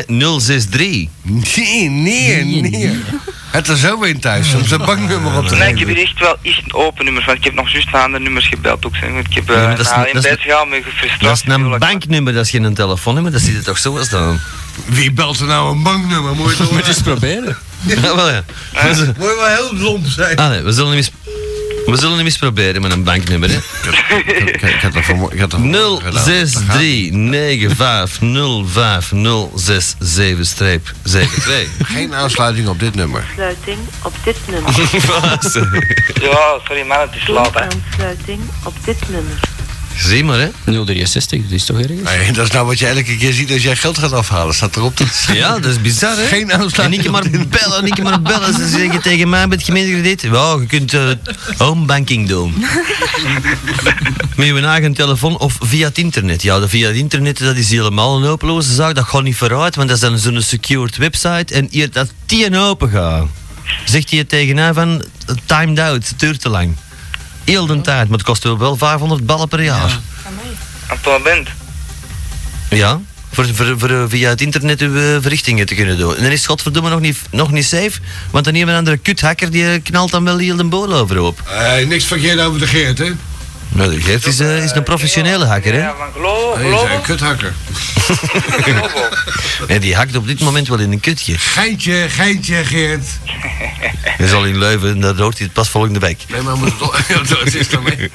S6: 0,
S7: Nee, 063.
S5: Nee, nee, nee. Het is zo in thuis om zijn banknummer op te
S6: nee, ik heb hier
S5: nemen.
S6: echt wel echt een open nummer, want ik heb nog juist naar andere nummers gebeld ook, zeg. want ik heb
S7: Ja,
S6: eh
S7: maar dat is
S6: naar nou,
S7: een-
S6: in
S7: dat is
S6: bed
S7: een-
S6: gegaan met gefrustreerd.
S7: Dat is een banknummer, dat is geen telefoonnummer. Dat zit er toch zo als dan.
S5: Wie belt er nou een banknummer? Moet je toch
S8: Moet je eens proberen.
S7: Ja, Ah, wel ja. We zullen-
S5: Moet je wel heel lomp zijn.
S7: Allee, we zullen hem eens... We zullen hem eens proberen met een banknummer, hè.
S5: Ik, ik had dat vanmorgen ik had dat vanmorgen gedaan. Daar
S7: 0639505067-72.
S5: gaat Geen aansluiting op dit nummer.
S1: Aansluiting op dit nummer.
S6: Ja, sorry man, het is laat hè.
S1: Aansluiting op dit nummer.
S7: Zie maar, hè.
S8: 063, dat is toch ergens?
S5: Nee, dat is nou wat je elke keer ziet als jij geld gaat afhalen. Staat erop dat...
S7: Ja, dat is bizar, hè?
S5: Geen
S7: En
S5: aansluiting
S7: ik maar bellen, ik maar bellen. Ze zeggen tegen mij met gemeentekrediet. Ja, je kunt eh, homebanking doen. met je eigen telefoon of via het internet. Ja, dat via het internet dat is helemaal een hopeloze zaak. Dat gaat niet vooruit, want dat is dan zo'n secured website. En hier dat tien open gaat. Zegt hij tegen mij van, eh, timed out, het duurt te lang. Heel de tijd, maar het kost wel 500 ballen per jaar.
S6: Antoine Bent.
S7: Ja. Voor, voor, voor, eh, via het internet uw eh, verrichtingen te kunnen doen. En dan is godverdomme nog niet, nog niet safe, want dan een of andere kuthacker die eh, knalt dan wel heel de boel overhoop.
S5: Eh, niks verkeerd over de Geert, hè?
S7: Nou, de Geert is, eh, is een professionele hacker, hè?
S6: Ja, van Globo,
S5: Hij is
S6: Globo,
S5: een kuthakker.
S6: Globo.
S7: En die hakt op dit moment wel in een kutje.
S8: Eh,
S5: Geintje, geintje, Geert.
S7: Hij zal in Leuven en dat hoort hij pas volgende week.
S5: Nee, maar moet het... dat is dan mee.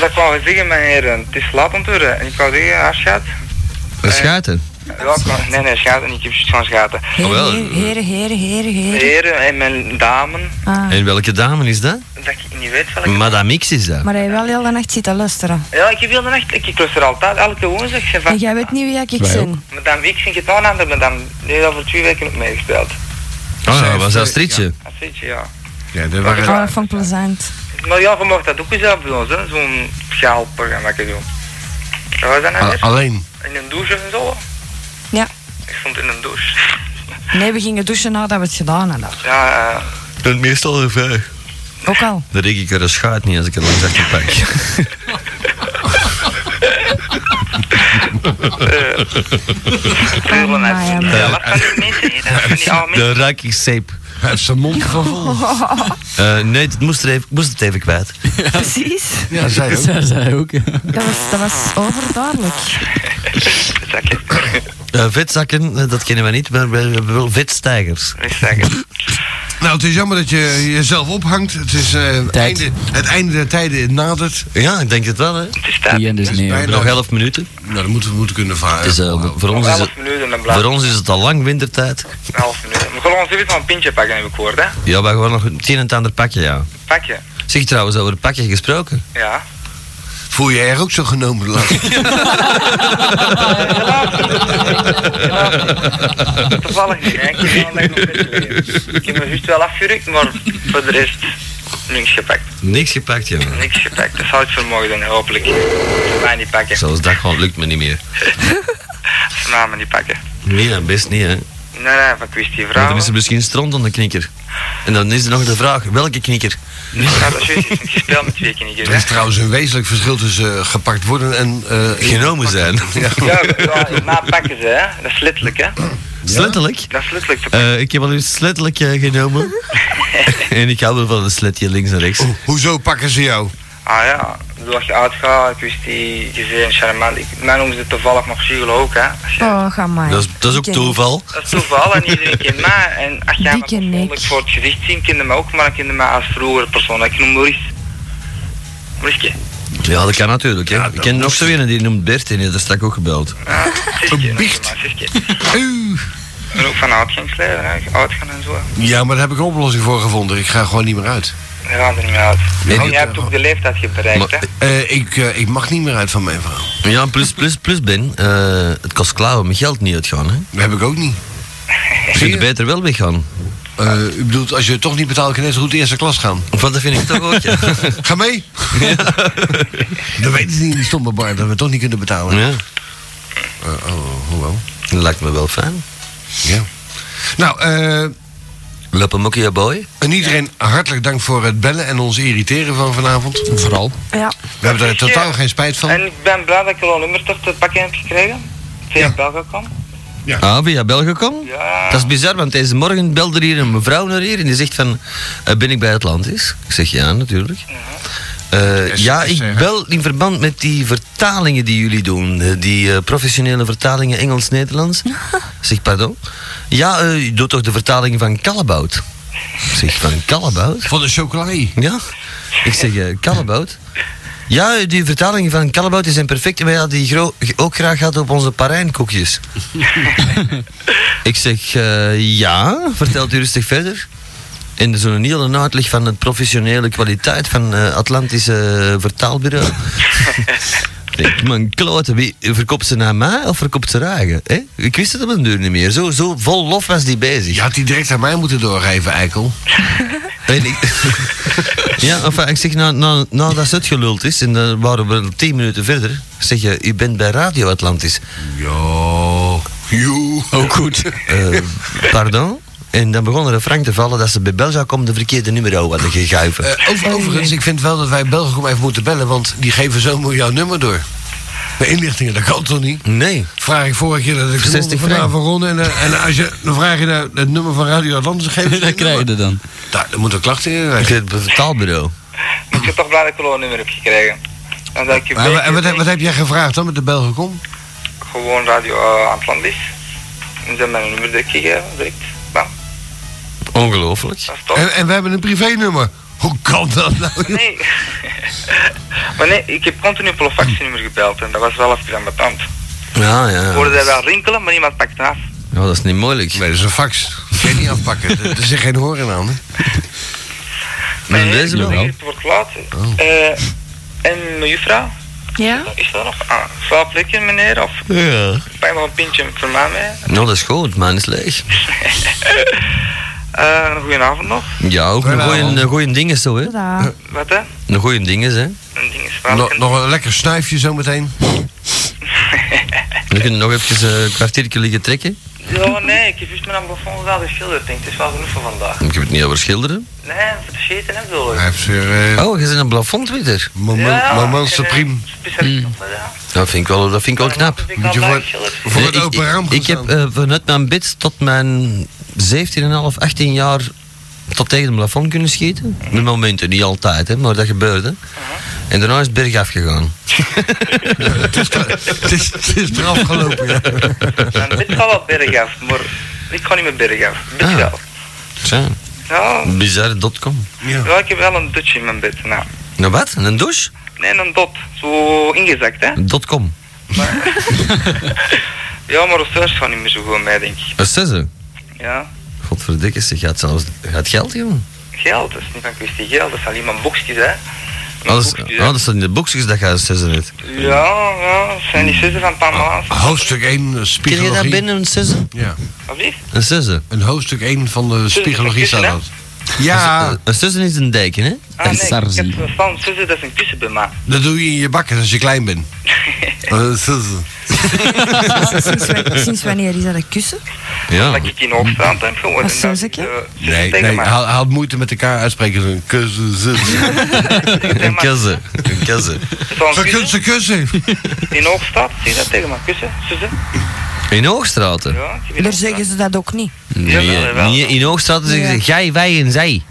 S6: Dat kwam ik zeggen mijn heren, het is laat aan het worden. En ik wou zeggen, afschat.
S7: Dat schuiten.
S6: Ja, ik wou- nee nee, schaten, ik heb juist gaan schaten.
S7: Oh, wel.
S9: Heren, heren, heren, heren, heren.
S6: Heren en mijn dames,
S9: Ah,
S7: En welke dame is dat?
S6: dat ik niet weet welke.
S7: Madame X is dat.
S9: Maar hij wel heel de nacht zitten luisteren.
S6: Ja, ik heb heel de nacht, ik ik luister altijd, elke woensdag. zeg,
S9: En
S6: van-
S9: jij weet niet wie ik
S8: Wij
S9: ben.
S6: Madame X vind ik het ander madame. Die heeft al voor twee weken op meegespeeld.
S7: Oh ja, was dat Strietje?
S6: Dat zit je, ja.
S5: Ja, dat
S6: waren-
S9: Oh, van plezant.
S6: Maar Jan vermocht dat ook zelf bij ons, hè. Zo'n schaalprogramma doen. Wat was dat nou weer?
S5: Ah, Alleen.
S6: In een douche en zo?
S9: Ja.
S6: Ik stond in een douche.
S9: Nee, we gingen douchen nadat we het gedaan hadden.
S6: Ja, eh,
S7: Dat is meestal de vraag.
S9: Ook al.
S7: Dan denk ik er een schuit niet als ik het langs achter pak.
S6: treuren
S9: Amai,
S6: uit.
S9: amai.
S6: Ja, wat kan die mensen hier? Dat zijn die oude mensen.
S7: Dan ruik ik zeep.
S5: Hij heeft zijn mond gevol.
S7: Eh, nee, het moest, er even, ik moest het even kwijt.
S9: Precies.
S5: Ja, zij ook.
S8: Dat zei ook.
S9: Dat was, dat was overduidelijk.
S6: Zakken.
S7: Eh, vetzakken, eh, dat kennen we niet, maar we hebben wel vetstijgers.
S6: Wees zakken.
S5: Nou, het is jammer dat je jezelf ophangt. Het is eh,
S8: Tijd.
S5: einde, het einde der tijden nadert.
S7: Ja, ik denk het wel, hè.
S6: Het is tijd.
S8: Die en dus nee.
S5: bijna-
S7: Nog
S8: hoor.
S7: elf minuten.
S5: Nou, dat moeten we moeten kunnen varen.
S7: Het is, eh, voor, ons is het,
S6: Elf minuten en dan
S7: voor
S6: blijft
S7: ons is het al lang wintertijd.
S6: een half minuut. We gaan ons even van een pintje pakken, heb ik gehoord, hè.
S7: Ja, maar gewoon nog het een en het ander pakje, ja.
S6: Pakje.
S7: Zeg trouwens, over het pakje gesproken.
S6: Ja.
S5: Voel je er ook zo genomen? Lars?
S6: Toevallig niet, hè. Ik heb wel nog een beetje leren. Ik heb mijn vuist wel afgerukt, maar voor de rest niks gepakt.
S7: Niks gepakt, jongen.
S6: Niks gepakt. Dat zou het vermogen doen, hopelijk. Ze mij niet pakken. Ze
S7: Zelfs dat gewoon lukt me niet meer.
S6: mij maar niet pakken.
S7: Nee, ja, best niet, hè.
S6: Nee, nee, maar ik wist die
S7: Want
S6: vrouw.
S7: dan is er misschien stront aan de knikker. En dan is er nog de vraag, welke knikker?
S6: Ja, dat is juist. Het is een spel met twee knikkers,
S5: Er is
S6: hè.
S5: trouwens een wezenlijk verschil tussen eh, gepakt worden en... eh,
S7: Genomen zijn.
S6: Ja, ja, maar pakken ze, hè. Dat is letterlijk, hè.
S7: Is Letterlijk.
S6: Dat is letterlijk. Ze
S7: Eh, ik heb al eens letterlijk eh, genomen. en ik hou wel van een sletje links en rechts.
S5: Hoezo pakken ze jou?
S6: Ah ja, ik bedoel, als je uitgaat, ik wist die gezin, charmant. Ik, mij noemen ze toevallig nog Sigel ook, hè. Als je-
S9: Oh, ga maar.
S7: Dat is, dat is ook
S9: Die ken ik.
S7: toeval.
S6: Dat is toeval en iedereen kent mij. En als jij
S9: Die
S6: me
S9: ken ik.
S6: persoonlijk voor het gezicht zien, kende mij ook, maar ik kende mij als vroeger persoon. Ik noem Maurice. Maurice.
S7: Ja, dat kan natuurlijk. Hè. ik ken nog zo een die noemt Bert en die is straks ook gebeld.
S6: Ja, Siske.
S5: biecht.
S6: maar Siske. Ik ben ook van uitgangsleider, hè. Uitgaan en zo.
S5: Ja, maar daar heb ik een oplossing voor gevonden. Ik ga gewoon niet meer uit.
S6: We gaan er niet meer uit.
S7: Nee,
S6: En
S7: die-
S6: jij hebt ook de leeftijd je bereikt, hè.
S7: Maar-
S5: Eh, ik, eh, ik mag niet meer uit van mijn vrouw.
S7: Ja, en plus, plus, plus Ben, eh, het kost klauwen mijn geld niet uitgaan. Hè.
S5: Dat heb ik ook niet.
S7: Je kunt beter wel weggaan.
S5: Eh, u bedoelt, als je het toch niet betaalt, kan je net zo goed de eerste klas gaan.
S7: Want dat vind ik toch ook. Ja.
S5: Ga mee! Dan weten ze niet in die stomme bar dat we het toch niet kunnen betalen.
S7: ja,
S5: Eh, oh, hoewel.
S7: dat lijkt me wel fijn.
S5: Ja. Nou, eh,
S7: Lapamokkia boy.
S5: en iedereen hartelijk dank voor het bellen en ons irriteren van vanavond.
S8: Vooral.
S9: Ja,
S5: We hebben er totaal geen spijt van.
S6: En ik ben blij dat ik al een nummer toch te pakken heb gekregen. Via
S5: Ja.
S6: België kwam.
S7: Ah, via Belgicom?
S6: Ja.
S7: Dat is bizar, want deze morgen belde er hier een mevrouw naar hier en die zegt van, eh, ben ik bij Atlantis? Ik zeg ja, natuurlijk. Eh,
S5: Yes,
S7: ja,
S5: yes,
S7: ik
S5: zeg.
S7: bel in verband met die vertalingen die jullie doen, eh, die eh, professionele vertalingen Engels-Nederlands. Ik zeg, pardon? Ja, eh, je doet toch de vertalingen van Kallebout? Ik zeg, van Kallebout?
S5: Van de chocolade.
S7: Ja? Ik zeg, eh, Kallebout? Ja, eh, die vertalingen van Kallebout die zijn perfect. Wij hadden die gro- ook graag gehad op onze Parijnkoekjes. ik zeg, eh, ja, vertelt u rustig verder. En zo'n hele uitleg van de professionele kwaliteit van eh Atlantische eh, vertaalbureau. Ik denk, man, klote, wie verkoopt ze naar mij of verkoopt ze haar eigen? hè? Ik wist het op een duur niet meer. Zo, zo vol lof was die bezig.
S5: Je had die direct aan mij moeten doorgeven, Eikel.
S7: En ik, ja, enfin, ik zeg, nou, nou, nou dat het geluld is, en dan waren we al tien minuten verder, zeg je, u bent bij Radio Atlantis.
S5: Jo. Joe. Ook goed.
S7: Eh, pardon? En dan begon er een frank te vallen dat ze bij België komen de verkeerde nummer hadden gegeven.
S5: Eh, over- overigens, ik vind wel dat wij Belgium even moeten bellen, want die geven zomaar jouw nummer door. De inlichtingen, dat kan toch niet?
S7: nee.
S5: Vraag ik vorige keer dat ik
S7: 60
S5: 60 vanavond van Ron en, eh, en als je, dan vraag je naar het nummer van Radio Atlantis, dan geef je
S8: Dat
S5: het
S8: krijg je
S5: nummer.
S8: er dan.
S5: Daar, dan moet er klachten in.
S7: Ik
S5: zijn.
S7: zit bij het vertaalbureau.
S6: Ik ben toch blij dat ik al een nummer heb gekregen. En dat ik je
S5: Maar, wa- en wat, heb-
S6: beter-
S5: wat heb jij gevraagd dan met de Belgicom?
S6: Gewoon radio uh, Atlantis. En ze hebben mijn nummer direct gegeven, direct. Bam,
S7: Ongelooflijk.
S6: dat is toch.
S5: En, en we hebben een privénummer. Hoe kan dat nou?
S6: Nee. maar nee, ik heb continu op een faxnummer gebeld en dat was wel even aan mijn tand.
S7: Ja, Ah, ja.
S6: Ik hoorde dat wel rinkelen, maar niemand pakte af.
S7: Ja, dat is niet moeilijk.
S5: Nee, dat is een fax. Dat kan je niet afpakken. Er- Er zit geen horen aan. Hè?
S7: Maar
S6: nee,
S7: deze
S6: ik
S7: wel.
S6: wil niet, Het wordt laat.
S5: Oh.
S6: Eh, en mijn juffrouw,
S9: ja.
S6: is dat nog? Ah, slaap lekker meneer, of
S7: Ja.
S6: pak nog een pintje voor mij mee.
S7: Nou, dat is goed, man is leeg.
S6: Eh, een goedenavond nog.
S7: Ja, ook een goeie, een goeie ding is zo, hè.
S9: Tada.
S6: Wat hè?
S7: Een goeie ding is, hè.
S6: Een ding is
S5: Nog,
S6: wel.
S5: nog een lekker snuifje zometeen.
S7: We kunnen nog even eh, een kwartiertje liggen trekken.
S6: Ja, nee, ik heb juist mijn ambassade gedaan geschilderd. Ik denk, het is wel genoeg voor vandaag.
S7: Ik heb het niet over schilderen.
S6: Nee, voor de scheten heb je
S5: Hij heeft weer eh
S7: Oh, je zit een plafondwitter.
S5: moment, moment supreme.
S6: Specialist op, ja.
S7: Dat vind ik wel, dat vind ik wel knap.
S6: Ik
S5: Moet je
S6: al
S5: voor-
S6: lang geschilderd.
S5: Voor het
S7: Nee, ik-
S5: open raam
S7: Ik, ik heb
S5: gestaan.
S7: eh, vanuit mijn bed tot mijn 17,5, 18 jaar tot tegen een plafond kunnen schieten. Met momenten, niet altijd, hè, maar dat gebeurde. En daarna is het berg afgegaan.
S5: het, is, het is eraf gelopen, ja.
S6: Mijn bed gaat wel bergaf, maar ik ga niet meer bergaf. Bed
S7: Ah.
S6: wel.
S7: Zo,
S6: Ja,
S7: bizarre.com.
S6: ja, ik heb wel een dutje in mijn bed. Nou,
S7: Nou wat? Een douche?
S6: nee, een dot. Zo ingezakt, hè?
S7: .com.
S6: Ja, maar de search gaat niet meer zo goed mee, denk ik.
S7: Een zesde.
S6: Ja.
S7: Godverdikke, ze gaat zelfs gaat geld, jongen.
S6: Geld, dat is niet van kwestie geld. Dat is alleen maar boekjes, hè?
S7: Alles,
S6: boekje,
S7: oh,
S6: ja.
S7: dat staat in de boekjes dat je zussen hebt.
S6: Ja, ja, dat zijn die zussen van Pamela's.
S5: Ah. Hoofdstuk 1,
S7: Ken je
S5: spiegel.
S7: dat binnen een zussen?
S5: Ja.
S6: Wat is?
S7: Een zussen.
S5: Een hoofdstuk 1 van de spiegologie staat dat.
S7: Een-
S5: Ja,
S7: eh, Een zussen is een dijkje, hè?
S6: Ah nee, ik
S8: Sarzi.
S6: heb verstaan, zussen dat is een kussen bij mij.
S5: eh, dat doe je in je bakken als je klein bent. Eh, zussen.
S9: Sinds, wa- sinds wanneer is dat een kussen?
S7: Ja.
S6: Dat ik in Hoogstraat heb geworden.
S9: Wat
S6: dat
S9: zusje?
S6: ik, eh, zussen
S5: Nee,
S6: tegen
S5: nee
S6: mij.
S5: haal, haal moeite met elkaar uitspreken. Een kussen, zussen.
S7: Een kussen. Een kussen.
S6: Zo'n
S5: Ze
S6: kussen
S5: kussen, kussen.
S6: in Hoogstraat, zie je dat tegen mij? Kussen, zussen?
S7: In Hoogstraten?
S6: Ja, ik heb
S9: Daar
S6: in Hoogstraat.
S9: zeggen ze dat ook niet.
S6: Jawel, jawel.
S7: Niet in Hoogstraten zeggen ze jij, wij en zij.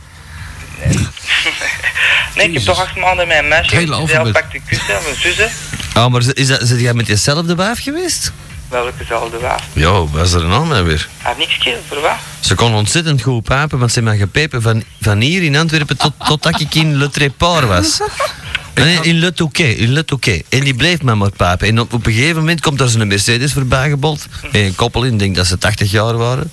S6: Nee, ik heb toch acht maanden met een meisje.
S5: Het hele
S6: die
S5: alfabet.
S6: pakt een kussen of een zussen.
S7: Ah, maar is dat, zit jij met jezelfde baaf geweest?
S6: Welke zal de waar?
S7: Ja, was er een ander weer.
S6: Had niks keer, voor wat?
S7: Ze kon ontzettend goed papen, want ze mag gepepen van, van hier in Antwerpen tot, totdat ik in Le Tréport was. Nee, in Le Touquet, in Le Touquet. En die bleef maar maar papen. En op, op een gegeven moment komt daar zo'n Mercedes voorbij gebold. En een koppel in, ik denk dat ze 80 jaar waren.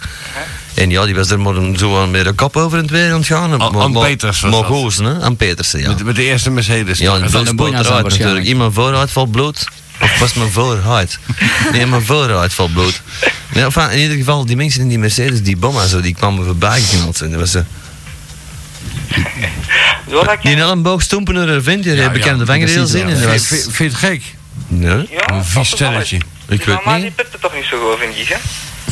S7: En ja, die was er maar een, zo aan met een kop over het weer aan het gaan. Maar-
S5: Oh, Ann
S7: maar-
S5: Peters was
S7: Maar
S5: dat.
S7: goos, hè? Aan Petersen, ja.
S5: Met, met de eerste Mercedes.
S7: Dus Ja, en
S8: dan
S7: veel
S8: de
S7: spoot
S8: boeien zijn
S7: eruit natuurlijk.
S8: waarschijnlijk.
S7: In mijn vooruit valt bloed. Of was mijn vooruit? Nee, mijn vooruit valt bloed. Ja, enfin, in ieder geval, die mensen in die Mercedes, die bomma zo, die kwamen voorbij geknald. En dat was, eh,
S6: Zo dat ik...
S7: die elleboog stoempen naar haar vent, die
S5: Ja,
S7: ja, bekende
S5: ja,
S7: vangrails in. En dat
S5: Vind,
S7: was,
S5: vind, vind je het gek?
S7: nee,
S6: Ja,
S5: Een vies stelletje.
S7: ik weet
S6: Maar die
S7: niet.
S6: pipt het toch niet zo goed, vind ik, hè?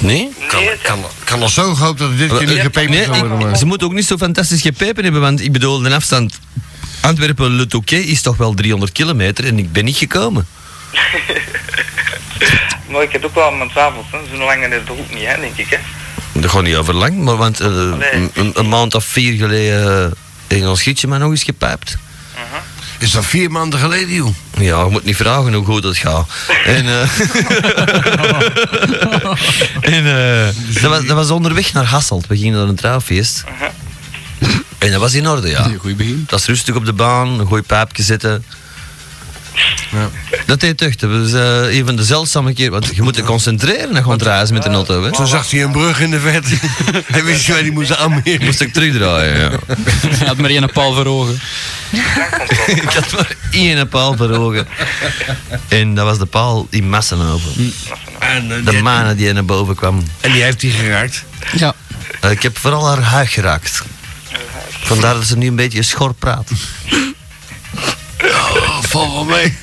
S7: Nee?
S6: Nee,
S5: Kan, kan, kan al zo gehoopt dat het dit keer niet gepeperd
S7: Nee,
S5: zou worden.
S7: ik-
S5: maar-
S7: ze moet ook niet zo fantastisch gepepen hebben, want ik bedoel, de afstand Antwerpen-Le Touquet is toch wel 300 kilometer en ik ben niet gekomen.
S6: Maar ik heb ook wel mijn twijfels, hè. Zo'n lange is de hoek niet, hè, denk ik, hè.
S7: Dat gaat niet over lang, maar want eh, een, een maand of vier geleden eh, in ons gietje maar nog eens gepijpt.
S5: Is dat vier maanden geleden, joh?
S7: Ja, je moet niet vragen hoe goed het gaat. En, eh, en eh, dat, was, dat was onderweg naar Hasselt. We gingen naar een trouwfeest. En dat was in orde, ja.
S8: Een goed begin.
S7: Dat is rustig op de baan, een gooi pijpje zitten. Dat deed echt. Dat was eh, een van de zeldzame keer. Want je moet je concentreren en gewoon reizen met de auto. Hè.
S5: Toen zag hij een brug in de vet. Hij wist niet waar hij moest aanmeren.
S7: Moest ik terugdraaien, ja.
S8: Hij had maar één paal voor ogen.
S7: Ik had maar één paal voor ogen. En dat was de paal in Massenhoven.
S5: En, eh,
S7: De
S5: die-
S7: manen die naar boven kwam.
S5: en die heeft hij geraakt.
S8: Ja.
S7: Eh, Ik heb vooral haar huig geraakt. Vandaar dat ze nu een beetje schor praat.
S5: Oh, val wel mee.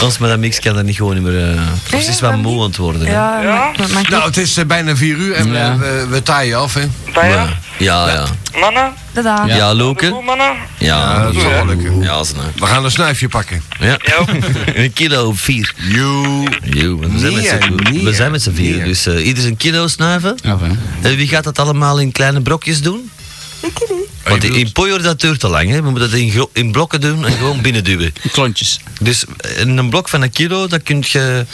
S7: Als madame X kan dat niet gewoon niet meer... eh, of ze is wel
S9: Ja,
S7: moe aan het worden. hè.
S9: Ja, maar dat mag
S5: Nou,
S9: niet.
S5: het is eh, bijna vier uur en we-
S8: Ja.
S5: we, we taaien af, hè?
S6: Bij jou?
S7: Ja, ja.
S6: Mannen?
S9: Tada.
S7: Ja,
S6: Goed,
S7: Loke?
S6: mannen?
S7: Ja.
S5: dat zal wel lukken.
S7: Ja, ze nou.
S5: We gaan een snuifje pakken.
S7: Ja. Een kilo of vier.
S5: You.
S7: Jo, we zijn met
S5: Nee, nee,
S7: z'n- we zijn met z'n vieren.
S5: nee.
S7: Dus eh, ieder een kilo snuiven.
S8: Ja, van.
S7: En wie gaat dat allemaal in kleine brokjes doen? Want
S5: je
S7: in- in Poyor dat duurt te lang. Hè. We moeten dat in, gro- in blokken doen en gewoon binnenduwen.
S8: Klontjes.
S7: Dus in een blok van een kilo, dat kun je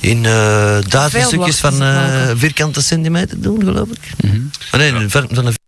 S7: in eh duizend
S9: Veel
S7: stukjes
S9: blokjes
S7: van eh,
S9: maken.
S7: vierkante centimeter doen, geloof ik. Ah, Nee, van, van een